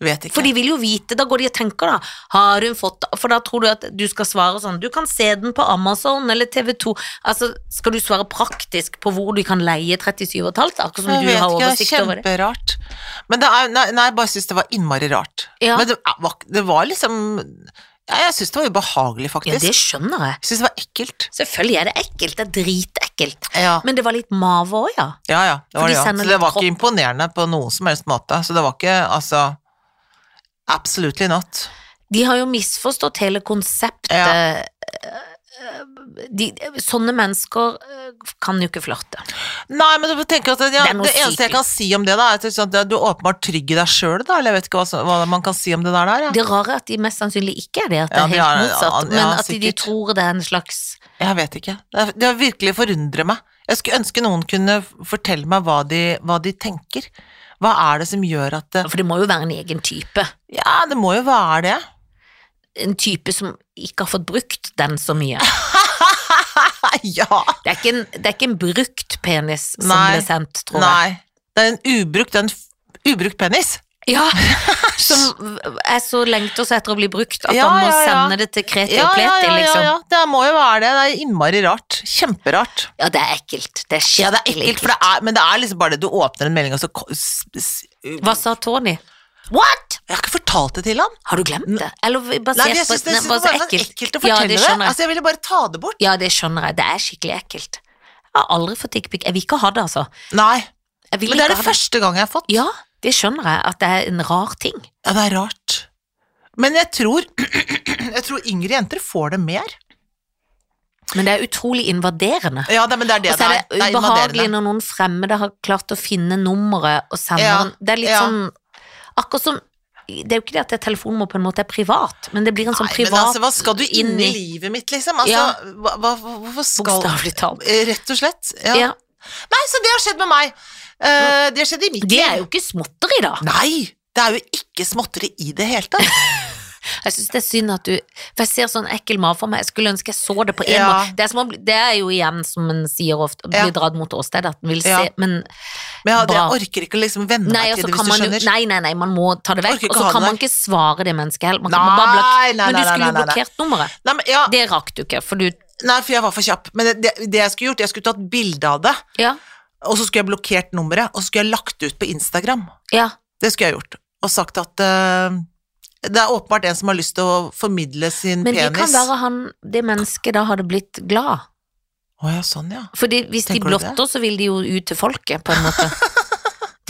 Speaker 1: Vet ikke.
Speaker 2: For de vil jo vite, da går de og tenker da Har hun fått, for da tror du at du skal svare sånn Du kan se den på Amazon eller TV 2 Altså, skal du svare praktisk på hvor du kan leie 37,5 Akkurat som
Speaker 1: Jeg
Speaker 2: du
Speaker 1: vet
Speaker 2: har
Speaker 1: ikke, det er
Speaker 2: oversikt over det
Speaker 1: kjemperart. Men det er, nei, nei, jeg bare syns det var innmari rart.
Speaker 2: Ja.
Speaker 1: Men det, var- det var liksom ja, Jeg syns det var ubehagelig,
Speaker 2: Ja,
Speaker 1: faktisk.
Speaker 2: det skjønner jeg
Speaker 1: Jeg syns det var ekkelt.
Speaker 2: Selvfølgelig er det ekkelt, det er dritekkelt
Speaker 1: Ja,
Speaker 2: Men det var litt mave også, ja
Speaker 1: ja. ja det
Speaker 2: For
Speaker 1: var,
Speaker 2: de
Speaker 1: det, ja.
Speaker 2: sender
Speaker 1: Så det
Speaker 2: litt
Speaker 1: var
Speaker 2: kropp.
Speaker 1: ikke imponerende på noen som helst måte. Så det var ikke altså Absolutely not.
Speaker 2: De har jo misforstått hele konseptet
Speaker 1: Ja.
Speaker 2: Eh, de, Sånne mennesker eh, kan jo ikke flørte
Speaker 1: Nei, men jeg tenker at ja,
Speaker 2: Det er noe
Speaker 1: Det eneste jeg
Speaker 2: sykt.
Speaker 1: kan si om det, da, er at det er sånn at du er åpenbart trygg i deg sjøl, da. Eller jeg vet ikke hva, som- hva man kan si om det der. der ja.
Speaker 2: Det rare er at de mest sannsynlig ikke er det At det
Speaker 1: Ja,
Speaker 2: er
Speaker 1: de er-
Speaker 2: helt
Speaker 1: ja,
Speaker 2: motsatt Men
Speaker 1: ja,
Speaker 2: at de- de
Speaker 1: sikkert.
Speaker 2: tror det er en slags
Speaker 1: Jeg vet ikke. Det, er- det har virkelig forundrer meg. Jeg skulle ønske noen kunne fortelle meg hva de, hva de tenker. Hva er det som gjør at det
Speaker 2: For det må jo være en egen type.
Speaker 1: Ja, det må jo være det.
Speaker 2: En type som ikke har fått brukt den så mye.
Speaker 1: ja!
Speaker 2: Det er ikke en, det er ikke en brukt penis som
Speaker 1: Nei.
Speaker 2: ble sendt, tror
Speaker 1: Nei. Det er en ubrukt, det er en f- ubrukt penis.
Speaker 2: jeg. Ja, som er så lengter seg etter å bli brukt at
Speaker 1: Ja,
Speaker 2: man må
Speaker 1: ja, ja.
Speaker 2: sende det til Kreti
Speaker 1: Ja, ja,
Speaker 2: og
Speaker 1: ja,
Speaker 2: Pleti,
Speaker 1: ja,
Speaker 2: liksom. Ja,
Speaker 1: ja. Det må jo være det. Det er innmari rart. Kjemperart.
Speaker 2: det er ekkelt. Det
Speaker 1: Ja,
Speaker 2: er skikkelig
Speaker 1: det er ekkelt, for det er, men det er liksom bare det. Du åpner en melding, og så ko- s- s- Jeg
Speaker 2: Hva sa Tony? What?!
Speaker 1: har ikke fortalt det til han.
Speaker 2: Har du glemt det? Eller basert
Speaker 1: Nei, jeg
Speaker 2: på
Speaker 1: syns det, jeg
Speaker 2: nei,
Speaker 1: synes
Speaker 2: bare
Speaker 1: det
Speaker 2: så
Speaker 1: var sånn ekkelt å
Speaker 2: Ja,
Speaker 1: fortelle
Speaker 2: det
Speaker 1: det.
Speaker 2: skjønner jeg.
Speaker 1: Altså, jeg ville bare ta det bort.
Speaker 2: Ja, det skjønner jeg. Det er skikkelig ekkelt. Jeg har aldri fått dickpic. Jeg vil ikke ha det, altså.
Speaker 1: Nei.
Speaker 2: Jeg vil
Speaker 1: Men det
Speaker 2: ikke
Speaker 1: er det
Speaker 2: ha det.
Speaker 1: første gang jeg har fått.
Speaker 2: Ja, det skjønner jeg, at det er en rar ting.
Speaker 1: Ja, det er rart. Men jeg tror Jeg tror yngre jenter får det mer.
Speaker 2: Men det er utrolig invaderende.
Speaker 1: Ja, det, men det er det
Speaker 2: Og så er det
Speaker 1: er
Speaker 2: ubehagelig
Speaker 1: invaderende.
Speaker 2: når noen fremmede har klart å finne nummeret og sende
Speaker 1: Ja,
Speaker 2: den. Det er litt
Speaker 1: ja.
Speaker 2: sånn Akkurat som Det er jo ikke det at det telefonnummer på en måte er privat, men det blir en sånn
Speaker 1: Nei, men
Speaker 2: privat
Speaker 1: altså, hva skal du inn i
Speaker 2: inni-
Speaker 1: livet mitt, liksom? Altså,
Speaker 2: Ja.
Speaker 1: hva, hva, hvorfor skal
Speaker 2: Bokstavelig talt.
Speaker 1: Eh, Rett og slett. Ja.
Speaker 2: Ja.
Speaker 1: Nei, så det har skjedd med meg. Eh, det har skjedd i mitt
Speaker 2: Det er
Speaker 1: liv.
Speaker 2: jo ikke småtteri, da.
Speaker 1: Nei! Det er jo ikke småtteri i det hele tatt.
Speaker 2: Jeg syns det er synd at du For jeg ser sånn ekkel mat for meg. Jeg skulle ønske jeg så det på en
Speaker 1: Ja.
Speaker 2: måte. Det er, som å bli, det er jo igjen, som en sier ofte, å bli
Speaker 1: Ja.
Speaker 2: dratt mot åstedet. At en vil se,
Speaker 1: Ja.
Speaker 2: men
Speaker 1: Men jeg, hadde-
Speaker 2: Bra.
Speaker 1: jeg orker ikke å liksom venne
Speaker 2: nei,
Speaker 1: meg
Speaker 2: og så
Speaker 1: til det,
Speaker 2: kan
Speaker 1: hvis du
Speaker 2: man jo
Speaker 1: skjønner.
Speaker 2: Nei, nei, nei, man må ta det
Speaker 1: Jeg
Speaker 2: vekk.
Speaker 1: orker ikke
Speaker 2: Og
Speaker 1: ha
Speaker 2: så
Speaker 1: det
Speaker 2: kan man
Speaker 1: vekk.
Speaker 2: ikke svare det mennesket heller. Man kan
Speaker 1: Nei,
Speaker 2: bare blokke-
Speaker 1: nei,
Speaker 2: Men
Speaker 1: nei,
Speaker 2: du
Speaker 1: nei,
Speaker 2: skulle
Speaker 1: nei,
Speaker 2: jo
Speaker 1: nei.
Speaker 2: blokkert nummeret.
Speaker 1: Nei, men, ja,
Speaker 2: Det rakk du ikke, for du
Speaker 1: nei, for jeg var for kjapp. Men det, det, det jeg skulle gjort, jeg skulle tatt bilde av det,
Speaker 2: Ja.
Speaker 1: og så skulle jeg blokkert nummeret, og så skulle jeg lagt det ut på Instagram.
Speaker 2: ja.
Speaker 1: Det skulle jeg gjort. Og sagt at eh, det er åpenbart en som har lyst til å formidle sin
Speaker 2: Men det kan
Speaker 1: penis.
Speaker 2: være han, det mennesket da hadde blitt glad.
Speaker 1: Å ja, sånn ja.
Speaker 2: Fordi hvis
Speaker 1: Tenker
Speaker 2: de
Speaker 1: du
Speaker 2: blotter, så vil de jo ut til folket, på en måte.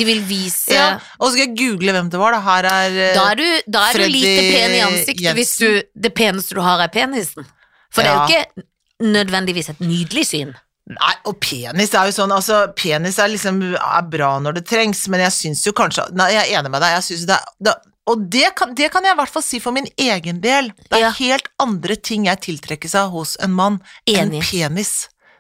Speaker 2: De vil vise
Speaker 1: ja. Og så skal jeg google hvem det var, da. Her er eh,
Speaker 2: Da er du, da er du
Speaker 1: Freddy
Speaker 2: lite pen i ansiktet
Speaker 1: Jensen.
Speaker 2: hvis du, det peneste du har, er penisen. For det er jo ikke nødvendigvis et nydelig syn.
Speaker 1: Nei, og penis er jo sånn, altså penis er liksom er bra når det trengs, men jeg syns jo kanskje Nei, jeg er enig med deg, jeg syns det er det, Og det kan, det kan jeg i hvert fall si for min egen del. Det er
Speaker 2: Ja.
Speaker 1: helt andre ting jeg tiltrekkes av hos en mann enn
Speaker 2: Enig.
Speaker 1: penis.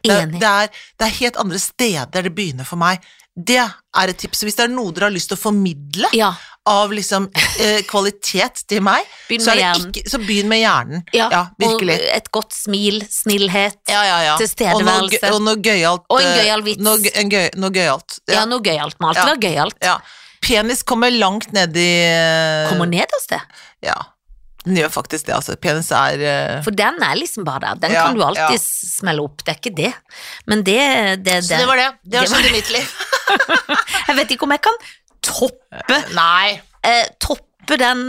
Speaker 1: Det,
Speaker 2: Enig.
Speaker 1: det, er, det er helt andre steder det begynner for meg. Det er et tips. Så hvis det er noe dere har lyst til å formidle
Speaker 2: Ja,
Speaker 1: av liksom eh, kvalitet til meg,
Speaker 2: Begynn
Speaker 1: så,
Speaker 2: med
Speaker 1: er det
Speaker 2: hjernen.
Speaker 1: ikke, så begynn med hjernen.
Speaker 2: Ja,
Speaker 1: Ja, virkelig.
Speaker 2: Og et godt smil, snillhet.
Speaker 1: Ja, ja, ja.
Speaker 2: Tilstedeværelse.
Speaker 1: Og noe, gøy- og noe gøyalt.
Speaker 2: Og en
Speaker 1: eh,
Speaker 2: gøyal vits.
Speaker 1: Noe, gøy- en gøy, noe gøyalt.
Speaker 2: Ja,
Speaker 1: Ja,
Speaker 2: noe gøyalt. Må alltid
Speaker 1: Ja.
Speaker 2: være gøyalt.
Speaker 1: ja. Penis kommer langt ned i eh,
Speaker 2: Kommer nederst, det.
Speaker 1: Ja. Den gjør faktisk det, altså. Penis er eh,
Speaker 2: For den er liksom bare der. Den
Speaker 1: Ja,
Speaker 2: kan du alltid
Speaker 1: ja.
Speaker 2: smelle opp. Det er ikke det. Men det, det, det.
Speaker 1: Så det var det. Det
Speaker 2: Det
Speaker 1: har
Speaker 2: var-
Speaker 1: skjedd i mitt liv.
Speaker 2: Jeg vet ikke om jeg kan toppe,
Speaker 1: Nei.
Speaker 2: eh, toppe den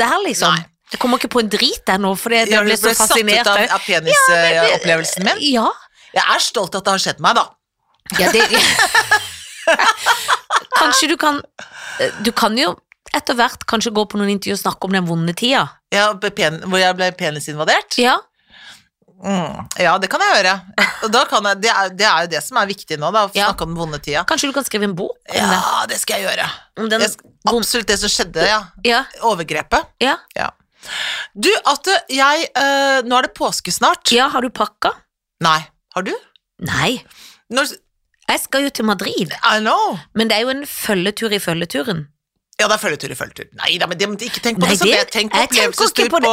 Speaker 2: der, liksom.
Speaker 1: Nei.
Speaker 2: Jeg kommer ikke på en drit der nå, fordi jeg ble så fascinert.
Speaker 1: satt ut av, av penisopplevelsen min.
Speaker 2: Ja,
Speaker 1: Jeg er stolt at det har skjedd meg, da.
Speaker 2: ja det Kanskje du kan eh, Du kan jo etter hvert kanskje gå på noen intervju og snakke om den vonde tida.
Speaker 1: Ja, på pen, hvor jeg ble penisinvadert.
Speaker 2: Ja,
Speaker 1: Mm. Ja, det kan jeg gjøre. Og da kan jeg, det, er, det er jo det som er viktig nå, da. Å
Speaker 2: Ja.
Speaker 1: snakke om den vonde tida.
Speaker 2: Kanskje du kan skrive en bok om det.
Speaker 1: Ja, det skal jeg gjøre.
Speaker 2: Om den,
Speaker 1: Jeg sk- absolutt det som skjedde, ja.
Speaker 2: ja,
Speaker 1: Overgrepet.
Speaker 2: ja.
Speaker 1: Ja. Du, at jeg eh, Nå er det påske snart.
Speaker 2: ja, har du pakka?
Speaker 1: Nei. Har du?
Speaker 2: Nei.
Speaker 1: Når,
Speaker 2: Jeg skal jo til Madrid,
Speaker 1: I know.
Speaker 2: men det er jo en følgetur i følgeturen.
Speaker 1: Ja, det er følgetur i følgetur. Nei da, men det, men ikke tenk på
Speaker 2: Nei,
Speaker 1: det som det.
Speaker 2: det-
Speaker 1: Tenk på
Speaker 2: jeg tenker ikke
Speaker 1: opplevelsestur
Speaker 2: på
Speaker 1: på,
Speaker 2: det.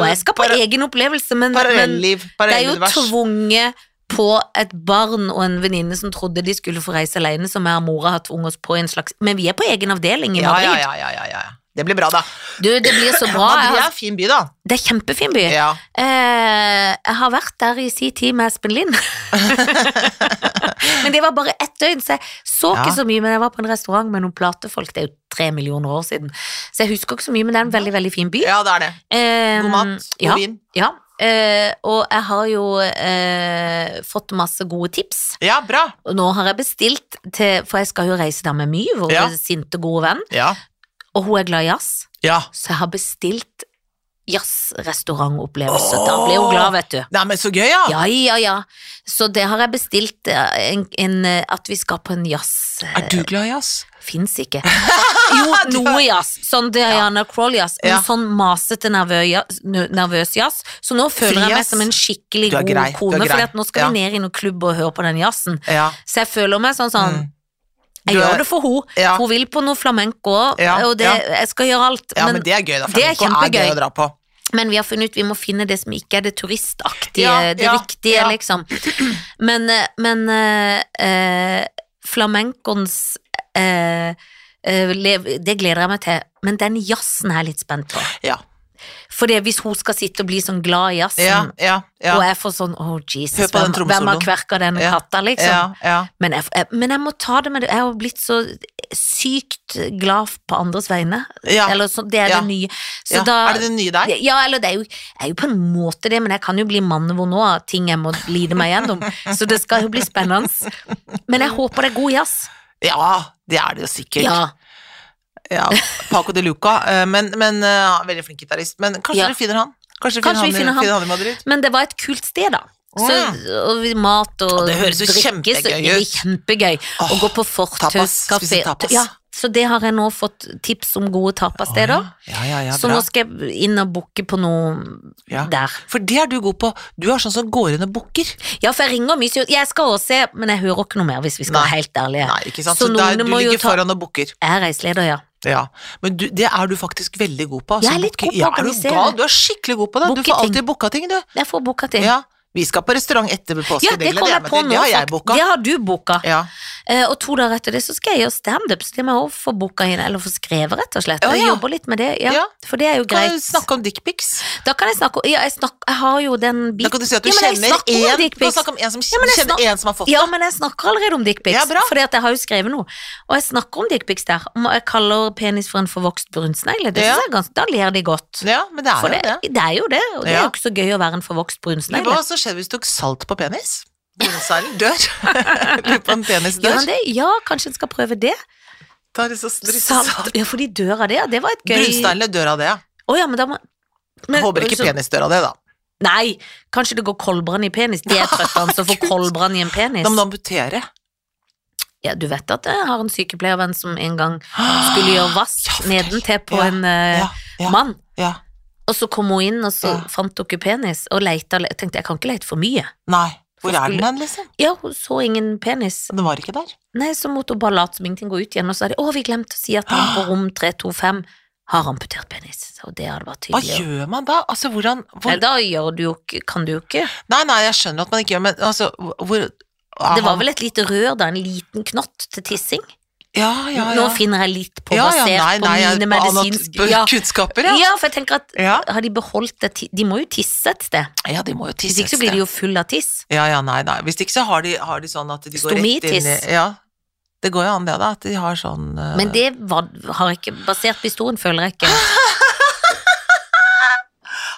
Speaker 2: Og jeg skal på
Speaker 1: para-
Speaker 2: egen opplevelse, men, men det
Speaker 1: parallelliv.
Speaker 2: er jo
Speaker 1: Parallellunivers.
Speaker 2: tvunget på et barn og en venninne som trodde de skulle få reise alene, som jeg og mora har tvunget oss på i en slags Men vi er på egen avdeling
Speaker 1: Ja,
Speaker 2: i Madrid.
Speaker 1: ja, ja, ja, ja, ja. Det blir bra, da.
Speaker 2: Du, det blir så bra. Jeg
Speaker 1: Madrid er
Speaker 2: har,
Speaker 1: en fin by, da.
Speaker 2: det er kjempefin by.
Speaker 1: Ja.
Speaker 2: Eh, jeg har vært der i si tid med Espen Lind. men det var bare ett døgn, så jeg så
Speaker 1: Ja.
Speaker 2: ikke så mye. Men jeg var på en restaurant med noen platefolk, det er jo tre millioner år siden. Så jeg husker ikke så mye, men det er en veldig, veldig fin by.
Speaker 1: ja, det er det.
Speaker 2: Eh,
Speaker 1: God mat, god
Speaker 2: ja,
Speaker 1: vin.
Speaker 2: Ja. Eh, og jeg har jo eh, fått masse gode tips.
Speaker 1: Ja, bra.
Speaker 2: Og nå har jeg bestilt til For jeg skal jo reise der med Myv, vår
Speaker 1: Ja.
Speaker 2: sinte, gode venn.
Speaker 1: Ja.
Speaker 2: Og hun er glad i jazz,
Speaker 1: ja.
Speaker 2: så jeg har bestilt jazzrestaurantopplevelse. Da ble hun glad, vet du.
Speaker 1: Nei, men så gøy, ja.
Speaker 2: Ja, ja, ja. Så det har jeg bestilt. eh, En, en, eh, at vi skal på en jazz eh,
Speaker 1: Er du glad i jazz?
Speaker 2: Fins ikke. Jo, noe jazz. Sånn Diana Crawl-jazz. Men
Speaker 1: Ja.
Speaker 2: sånn masete, nervø jazz- nø- nervøs jazz. Så nå føler jeg meg
Speaker 1: Frijazz.
Speaker 2: som en skikkelig
Speaker 1: Du er
Speaker 2: god
Speaker 1: grei, du er
Speaker 2: kone, for
Speaker 1: grei.
Speaker 2: at nå skal vi ned i noen klubb og høre på den jazzen.
Speaker 1: Ja.
Speaker 2: Så jeg føler meg sånn sånn
Speaker 1: Mm.
Speaker 2: Jeg
Speaker 1: Du er-
Speaker 2: gjør det for hun
Speaker 1: Ja.
Speaker 2: Hun vil på noe flamenco,
Speaker 1: Ja,
Speaker 2: og det, jeg skal gjøre alt.
Speaker 1: ja, men
Speaker 2: men,
Speaker 1: det er gøy, da.
Speaker 2: det er
Speaker 1: Flamenco er
Speaker 2: kjempegøy.
Speaker 1: gøy å dra på.
Speaker 2: men vi har funnet ut vi må finne det som ikke er det turistaktige,
Speaker 1: Ja,
Speaker 2: det
Speaker 1: ja,
Speaker 2: riktige,
Speaker 1: ja.
Speaker 2: liksom. Men, eh, men eh, eh, flamencoens eh, eh, lev, Det gleder jeg meg til. Men den jazzen er jeg litt spent på.
Speaker 1: Ja.
Speaker 2: For det, hvis hun skal sitte og bli sånn glad i jazzen,
Speaker 1: Ja, ja, ja.
Speaker 2: og jeg får sånn Oh, Jesus,
Speaker 1: Hør på den
Speaker 2: hvem, hvem har
Speaker 1: trommesoloen.
Speaker 2: kverka denne
Speaker 1: Ja,
Speaker 2: katta, liksom?
Speaker 1: ja, ja.
Speaker 2: Men jeg, jeg, men jeg må ta det med det. Jeg har blitt så sykt glad på andres vegne.
Speaker 1: Ja.
Speaker 2: Eller så, det er
Speaker 1: Ja.
Speaker 2: det nye. Så
Speaker 1: ja.
Speaker 2: da,
Speaker 1: Er det det nye der?
Speaker 2: ja, eller det er, jo, jeg er jo på en måte det, men jeg kan jo bli mannevond nå av ting jeg må lide meg gjennom. Så det skal jo bli spennende. Men jeg håper det er god jazz.
Speaker 1: Ja, det er det jo sikkert.
Speaker 2: Ja.
Speaker 1: Ja, Paco de Luca, eh, men, men eh, veldig flink gitarist. Men kanskje
Speaker 2: Ja.
Speaker 1: dere finner han? Kanskje,
Speaker 2: Kanskje
Speaker 1: finner han,
Speaker 2: vi finner
Speaker 1: finner
Speaker 2: han.
Speaker 1: han i Madrid?
Speaker 2: Men det var et kult sted, da. Så, og vi- mat og,
Speaker 1: Og det høres jo
Speaker 2: drikke, så
Speaker 1: kjempegøy
Speaker 2: det blir
Speaker 1: ut.
Speaker 2: kjempegøy. Å
Speaker 1: Åh,
Speaker 2: gå på fortaus,
Speaker 1: tapas,
Speaker 2: kafé
Speaker 1: spise tapas.
Speaker 2: Ja, så det har jeg nå fått tips om gode tapassteder.
Speaker 1: Mm. Ja, ja, ja,
Speaker 2: så
Speaker 1: bra.
Speaker 2: nå skal jeg inn og booke på noe
Speaker 1: Ja.
Speaker 2: der.
Speaker 1: For det er du god på. Du er sånn som går inn og booker.
Speaker 2: Ja, for jeg ringer mye. sier, Jeg skal også se, men jeg hører ikke noe mer, hvis vi skal
Speaker 1: Nei.
Speaker 2: være helt ærlige.
Speaker 1: Nei, ikke sant?
Speaker 2: Så
Speaker 1: Så,
Speaker 2: noen
Speaker 1: der, du
Speaker 2: må jo
Speaker 1: ligger
Speaker 2: ta-
Speaker 1: foran og booker.
Speaker 2: Jeg er reiseleder, ja.
Speaker 1: Ja. Men du, det er du faktisk veldig god på. altså,
Speaker 2: Jeg er litt
Speaker 1: booker.
Speaker 2: god på å
Speaker 1: ja, er du
Speaker 2: organisere.
Speaker 1: gal? Du er skikkelig god på det.
Speaker 2: Booke
Speaker 1: Du får
Speaker 2: ting.
Speaker 1: alltid booka ting, du.
Speaker 2: Jeg får booka til.
Speaker 1: Ja. Vi skal på restaurant etter påske.
Speaker 2: Ja,
Speaker 1: gleder
Speaker 2: det kom jeg
Speaker 1: meg
Speaker 2: på
Speaker 1: til.
Speaker 2: nå.
Speaker 1: Det har jeg
Speaker 2: fakt-
Speaker 1: booka.
Speaker 2: Det har du booka.
Speaker 1: Ja.
Speaker 2: Eh, og to dager etter det så skal jeg gjøre standup, så det må jeg også få booka inn, eller få skrevet, rett og slett.
Speaker 1: Å,
Speaker 2: Jeg
Speaker 1: ja.
Speaker 2: jobber litt med det, ja.
Speaker 1: Ja.
Speaker 2: For det er jo
Speaker 1: Kan du
Speaker 2: greit.
Speaker 1: snakke om dickpics?
Speaker 2: Da kan jeg snakke Ja, jeg, snak, jeg har jo den
Speaker 1: Da
Speaker 2: biten.
Speaker 1: kan du si at du
Speaker 2: Ja, men jeg
Speaker 1: kjenner
Speaker 2: snakker om
Speaker 1: én
Speaker 2: dick
Speaker 1: Du kan
Speaker 2: pics.
Speaker 1: snakke om en som
Speaker 2: men jeg
Speaker 1: kjenner
Speaker 2: snak-
Speaker 1: en som har fått
Speaker 2: Ja,
Speaker 1: det.
Speaker 2: men jeg snakker allerede om dickpics,
Speaker 1: Ja, bra.
Speaker 2: fordi at jeg har jo skrevet noe. Og jeg snakker om dickpics der. Om jeg kaller penis for en forvokst brunsnegle, det
Speaker 1: Ja.
Speaker 2: synes jeg er ganske, da ler de godt.
Speaker 1: Ja, men det
Speaker 2: For
Speaker 1: er jo
Speaker 2: det,
Speaker 1: det.
Speaker 2: det er jo det, og det er
Speaker 1: Ja.
Speaker 2: jo ikke så gøy å være en forvokst
Speaker 1: Lurer på
Speaker 2: brunsnegle.
Speaker 1: hva som skjedde hvis du tok salt på penis? Brunseilen dør. Lurer på om penis
Speaker 2: Gjør
Speaker 1: dør.
Speaker 2: han det? Ja, kanskje en skal prøve det?
Speaker 1: Ta litt så stryk-
Speaker 2: Salt.
Speaker 1: salt.
Speaker 2: Ja, for de dør av det, ja. Det var et gøy
Speaker 1: Brunsteinene dør av det, ja.
Speaker 2: Å ja, men da må men-
Speaker 1: Håper ikke
Speaker 2: så-
Speaker 1: penis dør av det, da.
Speaker 2: Nei, kanskje det går kolbrann i penis. De er trøttene som får kolbrann i en penis.
Speaker 1: Da må du amputere.
Speaker 2: Ja, du vet at jeg har en sykepleiervenn som en gang skulle gjøre vask
Speaker 1: Ja, fortell.
Speaker 2: nedentil på
Speaker 1: Ja,
Speaker 2: en eh,
Speaker 1: Ja, ja,
Speaker 2: mann.
Speaker 1: ja.
Speaker 2: Og så kom hun inn, og så
Speaker 1: Ja.
Speaker 2: fant hun ikke penis, og leita, le- tenkte jeg kan ikke leite for mye.
Speaker 1: Nei. Hvor er den hen, liksom?
Speaker 2: Ja, hun så ingen penis.
Speaker 1: Den var ikke der.
Speaker 2: Nei, så måtte hun bare late som ingenting gå ut igjen, og så sa de 'Å, vi glemte å si at han på rom 325 har amputert penis'. Og det hadde vært
Speaker 1: Hva
Speaker 2: tydelig.
Speaker 1: gjør man da? Altså, hvordan hvor,
Speaker 2: Nei, da gjør du jo ikke Kan du jo ikke.
Speaker 1: Nei, nei, jeg skjønner at man ikke gjør men altså, hvor
Speaker 2: Det var vel et lite rør, da. En liten knott til tissing.
Speaker 1: Ja, ja, ja.
Speaker 2: Nå finner jeg litt på,
Speaker 1: ja, ja,
Speaker 2: basert
Speaker 1: nei, nei,
Speaker 2: på mine
Speaker 1: anat-
Speaker 2: medisinske ja.
Speaker 1: Kunnskaper, ja.
Speaker 2: ja, for jeg tenker at
Speaker 1: ja.
Speaker 2: har de beholdt det ti- De må jo tisse et sted.
Speaker 1: Ja, de må jo
Speaker 2: Hvis
Speaker 1: tisse
Speaker 2: ikke så blir de jo full av tiss.
Speaker 1: Ja, ja, nei, nei. Hvis ikke så har de, har de sånn at de går rett inn i
Speaker 2: Stomitiss.
Speaker 1: Ja. Det går jo an, det, da. At de har sånn eh,
Speaker 2: Men det var, har jeg ikke Basert på historien, føler jeg ikke.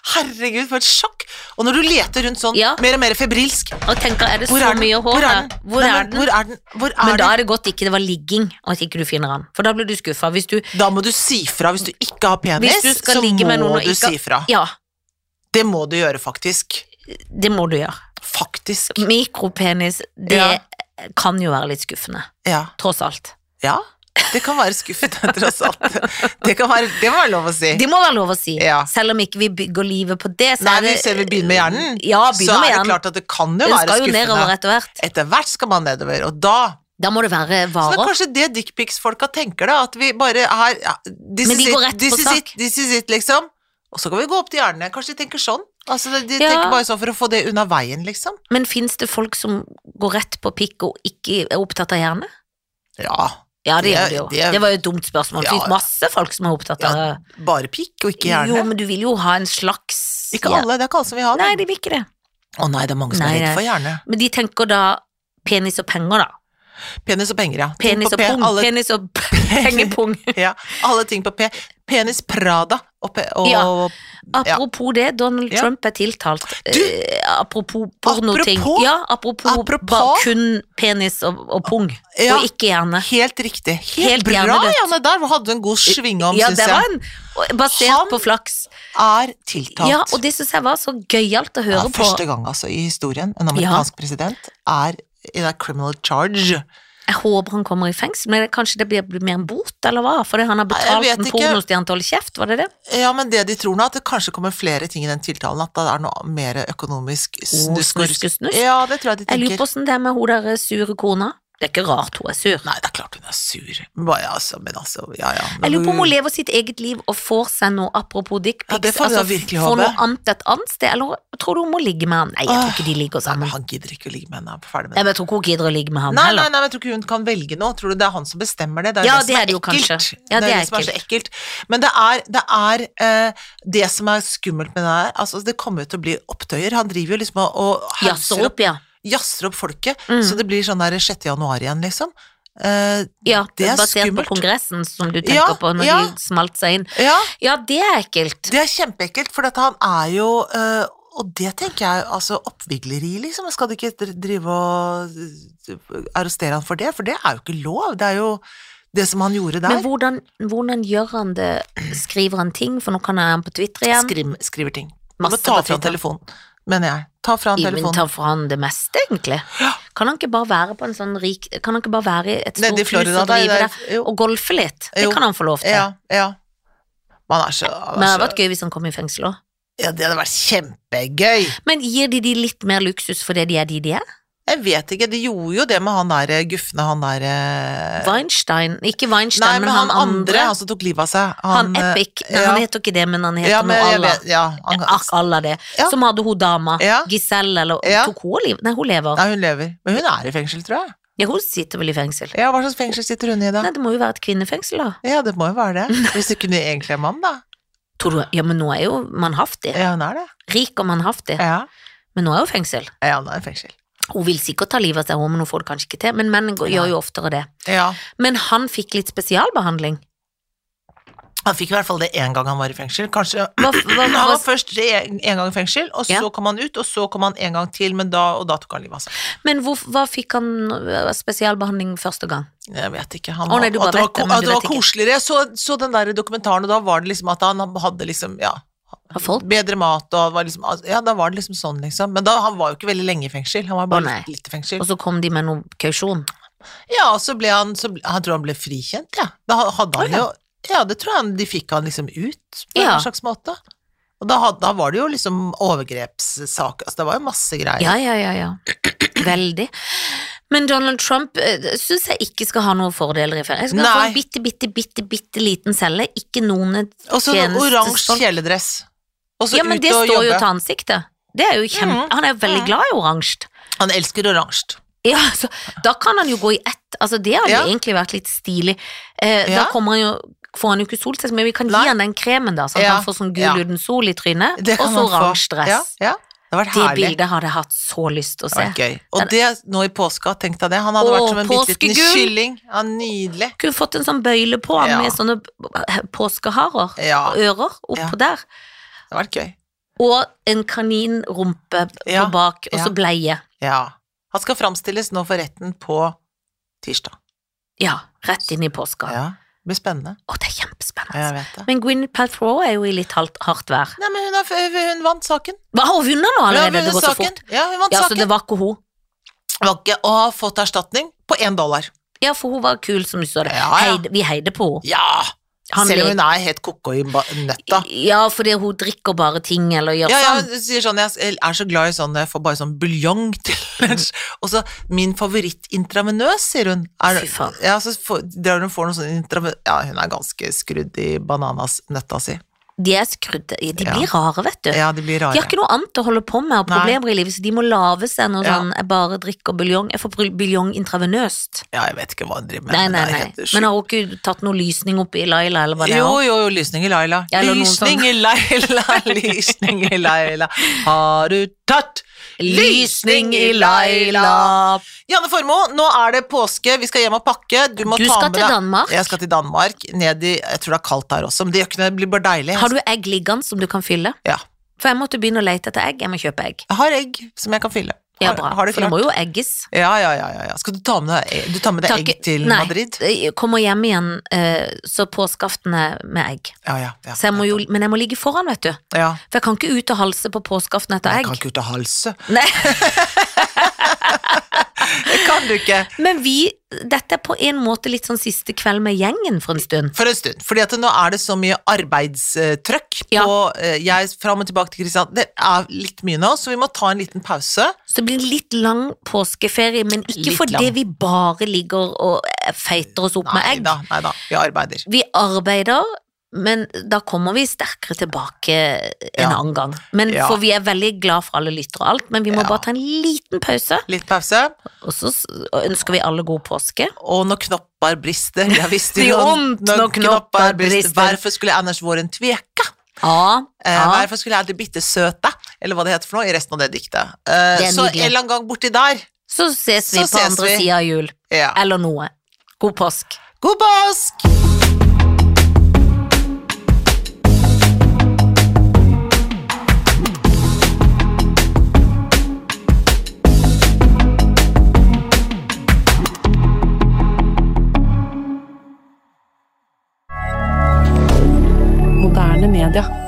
Speaker 1: Herregud, for et sjokk! Og når du leter rundt sånn,
Speaker 2: Ja.
Speaker 1: mer og mer febrilsk
Speaker 2: Og tenker, er det
Speaker 1: Hvor
Speaker 2: så
Speaker 1: er den?
Speaker 2: mye hår
Speaker 1: Hvor er
Speaker 2: der?
Speaker 1: den?
Speaker 2: Hvor
Speaker 1: Nei,
Speaker 2: er
Speaker 1: men
Speaker 2: den?
Speaker 1: Hvor er den? Hvor er
Speaker 2: Men da
Speaker 1: den?
Speaker 2: er det godt ikke det var ligging, og at ikke du finner han. For da blir du skuffa. Hvis du,
Speaker 1: Da må du si fra hvis du ikke har penis,
Speaker 2: hvis du skal
Speaker 1: så
Speaker 2: ligge med noen
Speaker 1: må
Speaker 2: og
Speaker 1: du
Speaker 2: ikke
Speaker 1: si fra.
Speaker 2: Ja,
Speaker 1: Det må du gjøre, faktisk.
Speaker 2: det må du gjøre.
Speaker 1: Faktisk.
Speaker 2: Mm. Mikropenis, det
Speaker 1: Ja.
Speaker 2: kan jo være litt skuffende.
Speaker 1: Ja.
Speaker 2: Tross alt.
Speaker 1: ja. Det kan være skuffende, tross alt. Det kan være, det må være lov å si.
Speaker 2: Det må være lov å si.
Speaker 1: Ja.
Speaker 2: Selv om ikke vi bygger livet på det, så
Speaker 1: Nei,
Speaker 2: er det
Speaker 1: vi ser vi begynner med hjernen,
Speaker 2: Ja,
Speaker 1: så
Speaker 2: begynner
Speaker 1: er
Speaker 2: med
Speaker 1: det
Speaker 2: hjernen.
Speaker 1: klart at det kan jo
Speaker 2: Den
Speaker 1: være
Speaker 2: skal jo nedover
Speaker 1: skuffende.
Speaker 2: etter hvert.
Speaker 1: Etter hvert skal man nedover, og da
Speaker 2: Da må det
Speaker 1: Så
Speaker 2: være
Speaker 1: det er
Speaker 2: varer.
Speaker 1: kanskje det dickpics-folka tenker, da. At vi bare her ja, this
Speaker 2: Men de
Speaker 1: is it,
Speaker 2: går rett
Speaker 1: this
Speaker 2: på
Speaker 1: is
Speaker 2: sak.
Speaker 1: it, This is it, liksom. Og så kan vi gå opp til hjernene. Kanskje de tenker sånn. Altså, de
Speaker 2: Ja.
Speaker 1: tenker bare sånn for å få det unna veien, liksom.
Speaker 2: Men fins det folk som går rett på pikk og ikke er opptatt av hjerne?
Speaker 1: Ja.
Speaker 2: Ja, det
Speaker 1: Det-
Speaker 2: gjør det jo.
Speaker 1: det-
Speaker 2: Det var jo et dumt spørsmål. Det
Speaker 1: Ja.
Speaker 2: finnes masse folk som er opptatt av
Speaker 1: Ja, Bare pikk og ikke
Speaker 2: Jo,
Speaker 1: hjerne.
Speaker 2: men du vil jo ha en slags
Speaker 1: Ikke
Speaker 2: Ja.
Speaker 1: alle, det er ikke alle som vil ha
Speaker 2: Nei,
Speaker 1: det.
Speaker 2: de vil ikke det.
Speaker 1: Å nei, det er mange som
Speaker 2: Nei,
Speaker 1: er
Speaker 2: nei.
Speaker 1: redd for hjerne.
Speaker 2: Men de tenker da penis og penger, da.
Speaker 1: Penis og penger, ja. Ting
Speaker 2: Penis
Speaker 1: på
Speaker 2: og
Speaker 1: P,
Speaker 2: pung.
Speaker 1: Alle,
Speaker 2: Penis og pengepung.
Speaker 1: ja, alle ting på P. Penis Prada og, P, og
Speaker 2: Ja. Apropos det, Donald
Speaker 1: Ja.
Speaker 2: Trump er tiltalt.
Speaker 1: Du!
Speaker 2: Eh, apropos pornoting.
Speaker 1: Apropos?
Speaker 2: Ja, apropos,
Speaker 1: Apropos?
Speaker 2: bare kun penis og, og pung,
Speaker 1: Ja.
Speaker 2: og ikke hjerne.
Speaker 1: Helt riktig. Helt,
Speaker 2: Helt
Speaker 1: bra,
Speaker 2: hjernedødt.
Speaker 1: Janne. Der hadde du en god sving om,
Speaker 2: Ja,
Speaker 1: syns
Speaker 2: det var
Speaker 1: Sånn jeg.
Speaker 2: en Basert
Speaker 1: Han
Speaker 2: på flaks.
Speaker 1: Er tiltalt.
Speaker 2: Ja, og det syns jeg var så gøyalt å høre
Speaker 1: ja,
Speaker 2: på.
Speaker 1: Første gang altså i historien en amerikansk president er i det criminal charge.
Speaker 2: Jeg håper han kommer i fengsel, men det- kanskje det blir blir mer en bot, eller hva? Fordi han har betalt
Speaker 1: vet
Speaker 2: en
Speaker 1: ikke.
Speaker 2: pornostjerne til å holde kjeft, var det det?
Speaker 1: Ja, men det de tror nå, at det kanskje kommer flere ting i den tiltalen, at det er noe mer økonomisk snusk. og
Speaker 2: snuske,
Speaker 1: rusk.
Speaker 2: snusk.
Speaker 1: Ja, det tror jeg de
Speaker 2: Jeg lurer
Speaker 1: tenker.
Speaker 2: på åssen det er med hun der eh, sure kona. Det er ikke rart hun er sur.
Speaker 1: Nei, det er klart hun er sur. Bare, ja, altså, men altså, ja ja.
Speaker 2: Jeg lurer på om hun lever sitt eget liv og får seg noe apropos
Speaker 1: eh, Ja,
Speaker 2: dickpics. altså,
Speaker 1: det får vi da virkelig håpe.
Speaker 2: får noe annet et annet sted, eller tror du hun må ligge med han? Nei, jeg tror
Speaker 1: Åh.
Speaker 2: ikke de ligger
Speaker 1: Nei, men
Speaker 2: sammen.
Speaker 1: Han gidder ikke å ligge med henne. han er Ferdig med
Speaker 2: Jeg
Speaker 1: det.
Speaker 2: bare tror ikke hun gidder å ligge med han
Speaker 1: Nei, nei,
Speaker 2: heller.
Speaker 1: nei, men jeg tror ikke hun kan velge nå. Tror du det er han som bestemmer det? Det er
Speaker 2: Ja,
Speaker 1: det som
Speaker 2: det er
Speaker 1: er
Speaker 2: det jo
Speaker 1: ekkelt.
Speaker 2: kanskje. Ja,
Speaker 1: det,
Speaker 2: det
Speaker 1: er
Speaker 2: er
Speaker 1: det som er så ekkelt. Men det er det, er, eh, det som er skummelt med det her, altså det kommer jo til å bli opptøyer. Han driver jo liksom og- og
Speaker 2: Jazzer opp, ja.
Speaker 1: jazzer opp folket,
Speaker 2: Mm.
Speaker 1: så det blir sånn der 6. januar igjen, liksom. Eh,
Speaker 2: ja.
Speaker 1: Det er
Speaker 2: basert
Speaker 1: skummelt.
Speaker 2: på kongressen som du tenker
Speaker 1: Ja,
Speaker 2: på når
Speaker 1: ja.
Speaker 2: de smalt seg inn.
Speaker 1: ja,
Speaker 2: Ja, det er ekkelt.
Speaker 1: det er kjempeekkelt, for dette, han er jo eh, Og det tenker jeg, altså oppvigleri, liksom. Jeg skal ikke dr- drive og eh, arrestere han for det, for det er jo ikke lov. Det er jo det som han gjorde
Speaker 2: Men
Speaker 1: der.
Speaker 2: hvordan, hvordan gjør han det? Skriver han ting? For nå kan jeg ha han på Twitter igjen.
Speaker 1: Skrim, skriver ting. Du må
Speaker 2: Masse
Speaker 1: ta
Speaker 2: på
Speaker 1: fra
Speaker 2: Twitter.
Speaker 1: telefonen, mener jeg. Ta fra han
Speaker 2: Ja, Men
Speaker 1: telefonen.
Speaker 2: tar fra han det meste, egentlig? Kan han ikke bare være på en sånn rik Kan han ikke bare være i et stort
Speaker 1: Nede i Florida,
Speaker 2: hus og
Speaker 1: der.
Speaker 2: drive det?
Speaker 1: der jo,
Speaker 2: Og golfe litt? Det
Speaker 1: Jo.
Speaker 2: kan han få lov til.
Speaker 1: ja, altså- ja. Man er så,
Speaker 2: Men det
Speaker 1: er
Speaker 2: hadde
Speaker 1: så
Speaker 2: vært gøy hvis han kom i fengsel òg.
Speaker 1: Ja, det hadde vært kjempegøy.
Speaker 2: Men gir de de litt mer luksus fordi de er de de er?
Speaker 1: Jeg vet ikke, de gjorde jo det med han der eh, gufne, han der eh,
Speaker 2: Weinstein Ikke Weinstein,
Speaker 1: Nei, men han, andre, han
Speaker 2: Han,
Speaker 1: som tok livet av seg. Han, eh,
Speaker 2: Epic. Nei,
Speaker 1: ja.
Speaker 2: Han heter ikke det, men han heter
Speaker 1: ja, men
Speaker 2: noe
Speaker 1: jeg
Speaker 2: Allah.
Speaker 1: vet, ja, han,
Speaker 2: Ak Allah det.
Speaker 1: Ja.
Speaker 2: Som hadde hun dama.
Speaker 1: Ja.
Speaker 2: Giselle, eller
Speaker 1: Ja.
Speaker 2: Tok hun liv? Nei, hun lever.
Speaker 1: Nei, hun lever. Men hun er i fengsel, tror jeg.
Speaker 2: Ja, hun sitter vel i fengsel.
Speaker 1: Ja, Hva slags fengsel sitter hun i, da?
Speaker 2: Nei, det må jo være et kvinnefengsel, da.
Speaker 1: Ja, det må jo være det. Hvis det kunne egentlig en mann, da.
Speaker 2: Tror du, ja, men nå er jo mannhaftig.
Speaker 1: Ja, hun er det.
Speaker 2: Rik og mannhaftig.
Speaker 1: Ja,
Speaker 2: Men nå er hun fengsel.
Speaker 1: ja hun er i fengsel.
Speaker 2: Hun vil sikkert ta livet av seg, hun, men hun får det kanskje ikke til. Men menn går- gjør jo oftere det.
Speaker 1: Ja.
Speaker 2: Men han fikk litt spesialbehandling.
Speaker 1: Han fikk i hvert fall det én gang han var i fengsel. Kanskje
Speaker 2: Hva, hva,
Speaker 1: Han
Speaker 2: hva,
Speaker 1: var først én gang i fengsel, og så
Speaker 2: Ja.
Speaker 1: kom han ut, og så kom han en gang til, men da, og da tok han livet av seg.
Speaker 2: men hvor, hva fikk han øh, spesialbehandling første gang?
Speaker 1: Jeg vet ikke. Han
Speaker 2: Å, nei, du
Speaker 1: at det var,
Speaker 2: bare vet
Speaker 1: ko-
Speaker 2: det, men
Speaker 1: at
Speaker 2: du
Speaker 1: det var
Speaker 2: vet ikke.
Speaker 1: koseligere. Jeg så, så den der dokumentaren, og da var det liksom at han hadde liksom Ja.
Speaker 2: Har folk?
Speaker 1: Bedre mat og var liksom, Ja, da var det liksom sånn, liksom. Men da, han var jo ikke veldig lenge i fengsel. Han var
Speaker 2: Å,
Speaker 1: bare
Speaker 2: nei.
Speaker 1: litt, litt i fengsel.
Speaker 2: Og så kom de med noe kausjon.
Speaker 1: Ja, og så ble han så, ble- Han tror han ble frikjent, ja. Da hadde
Speaker 2: Å,
Speaker 1: han
Speaker 2: ja.
Speaker 1: jo Ja, det tror jeg han, de fikk han liksom ut på
Speaker 2: Ja.
Speaker 1: en slags måte. Og da, had- da var det jo liksom overgrepssaker Altså, det var jo masse greier.
Speaker 2: Ja, ja, ja, ja. veldig. Men Donald Trump syns jeg ikke skal ha noen fordeler i ferie. Jeg skal få
Speaker 1: Nei.
Speaker 2: en bitte, bitte, bitte, bitte liten celle, ikke noen
Speaker 1: Og så en oransje
Speaker 2: tjenestesport.
Speaker 1: kjeledress. Og så
Speaker 2: Ja,
Speaker 1: Altså,
Speaker 2: men
Speaker 1: ut
Speaker 2: det
Speaker 1: og
Speaker 2: står jo
Speaker 1: jobbe.
Speaker 2: til ansiktet. Det er jo kjempe...
Speaker 1: Mhm.
Speaker 2: Han er jo veldig
Speaker 1: Mhm.
Speaker 2: glad i oransje.
Speaker 1: Han elsker oransje.
Speaker 2: Ja, altså, da kan han jo gå i ett. Altså, det hadde
Speaker 1: Ja.
Speaker 2: egentlig vært litt stilig. Eh, Da
Speaker 1: Ja.
Speaker 2: kommer han jo, får han jo ikke soltest, men vi kan
Speaker 1: Nei.
Speaker 2: gi han den kremen, da, så han
Speaker 1: Ja.
Speaker 2: kan få sånn gul
Speaker 1: Ja.
Speaker 2: uten sol i trynet,
Speaker 1: Det
Speaker 2: og
Speaker 1: kan
Speaker 2: så
Speaker 1: man få.
Speaker 2: oransje dress.
Speaker 1: Ja, ja. Det hadde vært
Speaker 2: Det
Speaker 1: herlig.
Speaker 2: bildet hadde jeg hatt så lyst til å
Speaker 1: Det
Speaker 2: se.
Speaker 1: hadde vært gøy. Og det nå i påska, tenk deg det. Han hadde
Speaker 2: Åh,
Speaker 1: vært som en bitte liten
Speaker 2: påskegull!
Speaker 1: kylling. Ja, nydelig.
Speaker 2: Kunne fått en sånn bøyle på han
Speaker 1: Ja.
Speaker 2: med sånne påskeharer
Speaker 1: Ja,
Speaker 2: og ører oppå
Speaker 1: Ja.
Speaker 2: der.
Speaker 1: det hadde vært gøy.
Speaker 2: Og en kaninrumpe på
Speaker 1: Ja.
Speaker 2: bak, og
Speaker 1: Ja.
Speaker 2: så bleie.
Speaker 1: Ja. Han skal framstilles nå for retten på tirsdag.
Speaker 2: Ja, rett inn i påska.
Speaker 1: Ja. Det blir spennende.
Speaker 2: Å, det er
Speaker 1: Ja,
Speaker 2: kjempespennende.
Speaker 1: jeg vet det.
Speaker 2: Men Gwyneth Paltrow er jo i litt halvt, hardt vær.
Speaker 1: Nei, men hun, har, hun vant saken.
Speaker 2: Hva har hun vunnet nå
Speaker 1: Hun har
Speaker 2: allerede? Det
Speaker 1: vunnet
Speaker 2: går så
Speaker 1: saken.
Speaker 2: fort.
Speaker 1: Ja, hun vant
Speaker 2: Ja, så
Speaker 1: saken.
Speaker 2: det var ikke
Speaker 1: Hun
Speaker 2: hun.
Speaker 1: har ikke- Og har fått erstatning på én dollar.
Speaker 2: Ja, for hun var kul, som du sa det.
Speaker 1: Ja, ja.
Speaker 2: Heid- vi heide på henne.
Speaker 1: Ja!
Speaker 2: Han
Speaker 1: Selv om
Speaker 2: ler.
Speaker 1: hun er helt koko i ba- nøtta.
Speaker 2: Ja, fordi hun drikker bare ting, eller gjør
Speaker 1: Ja, ja,
Speaker 2: sånn.
Speaker 1: du sier sånn, jeg er så glad i sånn, jeg får bare sånn buljong til lunsj. Og så, min favoritt intravenøs, sier hun. Er,
Speaker 2: Fy faen.
Speaker 1: Ja, så får, drar hun får noe sånn intravenøs, ja, hun er ganske skrudd i bananas nøtta si.
Speaker 2: De er skrudde. De
Speaker 1: Ja.
Speaker 2: blir rare, vet du.
Speaker 1: Ja, de blir
Speaker 2: De har
Speaker 1: rare.
Speaker 2: ikke noe annet å holde på med og
Speaker 1: Nei.
Speaker 2: problemer i livet, så de må lave seg noe
Speaker 1: Ja.
Speaker 2: sånn 'jeg bare drikker buljong', jeg får bul- buljong intravenøst.
Speaker 1: Ja, jeg vet ikke hva hun driver med.
Speaker 2: Nei, nei,
Speaker 1: men det er
Speaker 2: nei.
Speaker 1: helt sjukt.
Speaker 2: Men har hun ikke tatt noe lysning oppi Laila, eller hva det er?
Speaker 1: Jo, jo, jo, lysning i Laila.
Speaker 2: Eller noe
Speaker 1: Lysning
Speaker 2: sånn.
Speaker 1: i Laila, lysning i Laila. Har du tatt
Speaker 2: Lysning i Laila!
Speaker 1: Janne Formoe, nå er det påske, vi skal hjem og pakke. Du må
Speaker 2: Du
Speaker 1: ta
Speaker 2: skal
Speaker 1: med
Speaker 2: til
Speaker 1: deg
Speaker 2: Danmark.
Speaker 1: Jeg skal til Danmark, ned i Jeg tror det er kaldt der også, men det gjør ikke noe, det blir bare deilig.
Speaker 2: Har du egg liggende som du kan fylle?
Speaker 1: Ja.
Speaker 2: For jeg måtte begynne å lete etter egg. Jeg må kjøpe egg.
Speaker 1: Jeg har egg som jeg kan fylle.
Speaker 2: Ja,
Speaker 1: Har-
Speaker 2: bra.
Speaker 1: Har det
Speaker 2: For det
Speaker 1: klart?
Speaker 2: må jo egges.
Speaker 1: Ja, ja, ja, ja, ja. Skal du ta med deg egg, du tar med deg
Speaker 2: Takk-
Speaker 1: egg til
Speaker 2: nei.
Speaker 1: Madrid?
Speaker 2: Jeg kommer hjem igjen, eh, så påskeaften er med egg.
Speaker 1: Ja, ja. ja.
Speaker 2: Så jeg må jo, men jeg må ligge foran, vet du.
Speaker 1: ja.
Speaker 2: For jeg kan ikke ut og halse på påskeaften etter
Speaker 1: Jeg
Speaker 2: egg.
Speaker 1: kan ikke ut av halsen.
Speaker 2: Nei,
Speaker 1: Det kan du ikke.
Speaker 2: men vi, dette er på en måte litt sånn siste kveld med gjengen for en stund.
Speaker 1: For en stund. Fordi at nå er det så mye arbeidstrøkk på
Speaker 2: Ja.
Speaker 1: eh, jeg fram og tilbake til Kristian. Det er litt mye nå, så vi må ta en liten pause.
Speaker 2: Så det blir en litt lang påskeferie, men ikke
Speaker 1: Litt
Speaker 2: fordi
Speaker 1: lang.
Speaker 2: vi bare ligger og eh, feiter oss opp med
Speaker 1: Nei
Speaker 2: egg.
Speaker 1: da, nei da. Vi arbeider.
Speaker 2: Vi arbeider, men da kommer vi sterkere tilbake en
Speaker 1: Ja.
Speaker 2: annen gang. Men,
Speaker 1: Ja.
Speaker 2: For vi er veldig glad for alle lyttere og alt, men vi må
Speaker 1: Ja.
Speaker 2: bare ta en liten pause.
Speaker 1: Litt pause.
Speaker 2: Og så s- ønsker vi alle god påske.
Speaker 1: Og når knopper brister Jeg visste
Speaker 2: Det
Speaker 1: jo
Speaker 2: gjør vondt når knopper brister.
Speaker 1: Hvorfor skulle Anders Våren tveka?
Speaker 2: Ja,
Speaker 1: Eh,
Speaker 2: ja.
Speaker 1: Hvorfor skulle jeg alltid bitte søte? Eller hva det heter for noe i resten av det diktet. Eh,
Speaker 2: Det er
Speaker 1: så en
Speaker 2: nydelig.
Speaker 1: eller annen gang borti der.
Speaker 2: Så ses vi
Speaker 1: Så
Speaker 2: på
Speaker 1: ses
Speaker 2: andre
Speaker 1: vi.
Speaker 2: sida av jul.
Speaker 1: Ja.
Speaker 2: Eller noe. God påsk.
Speaker 1: God påsk!
Speaker 3: Moderne media.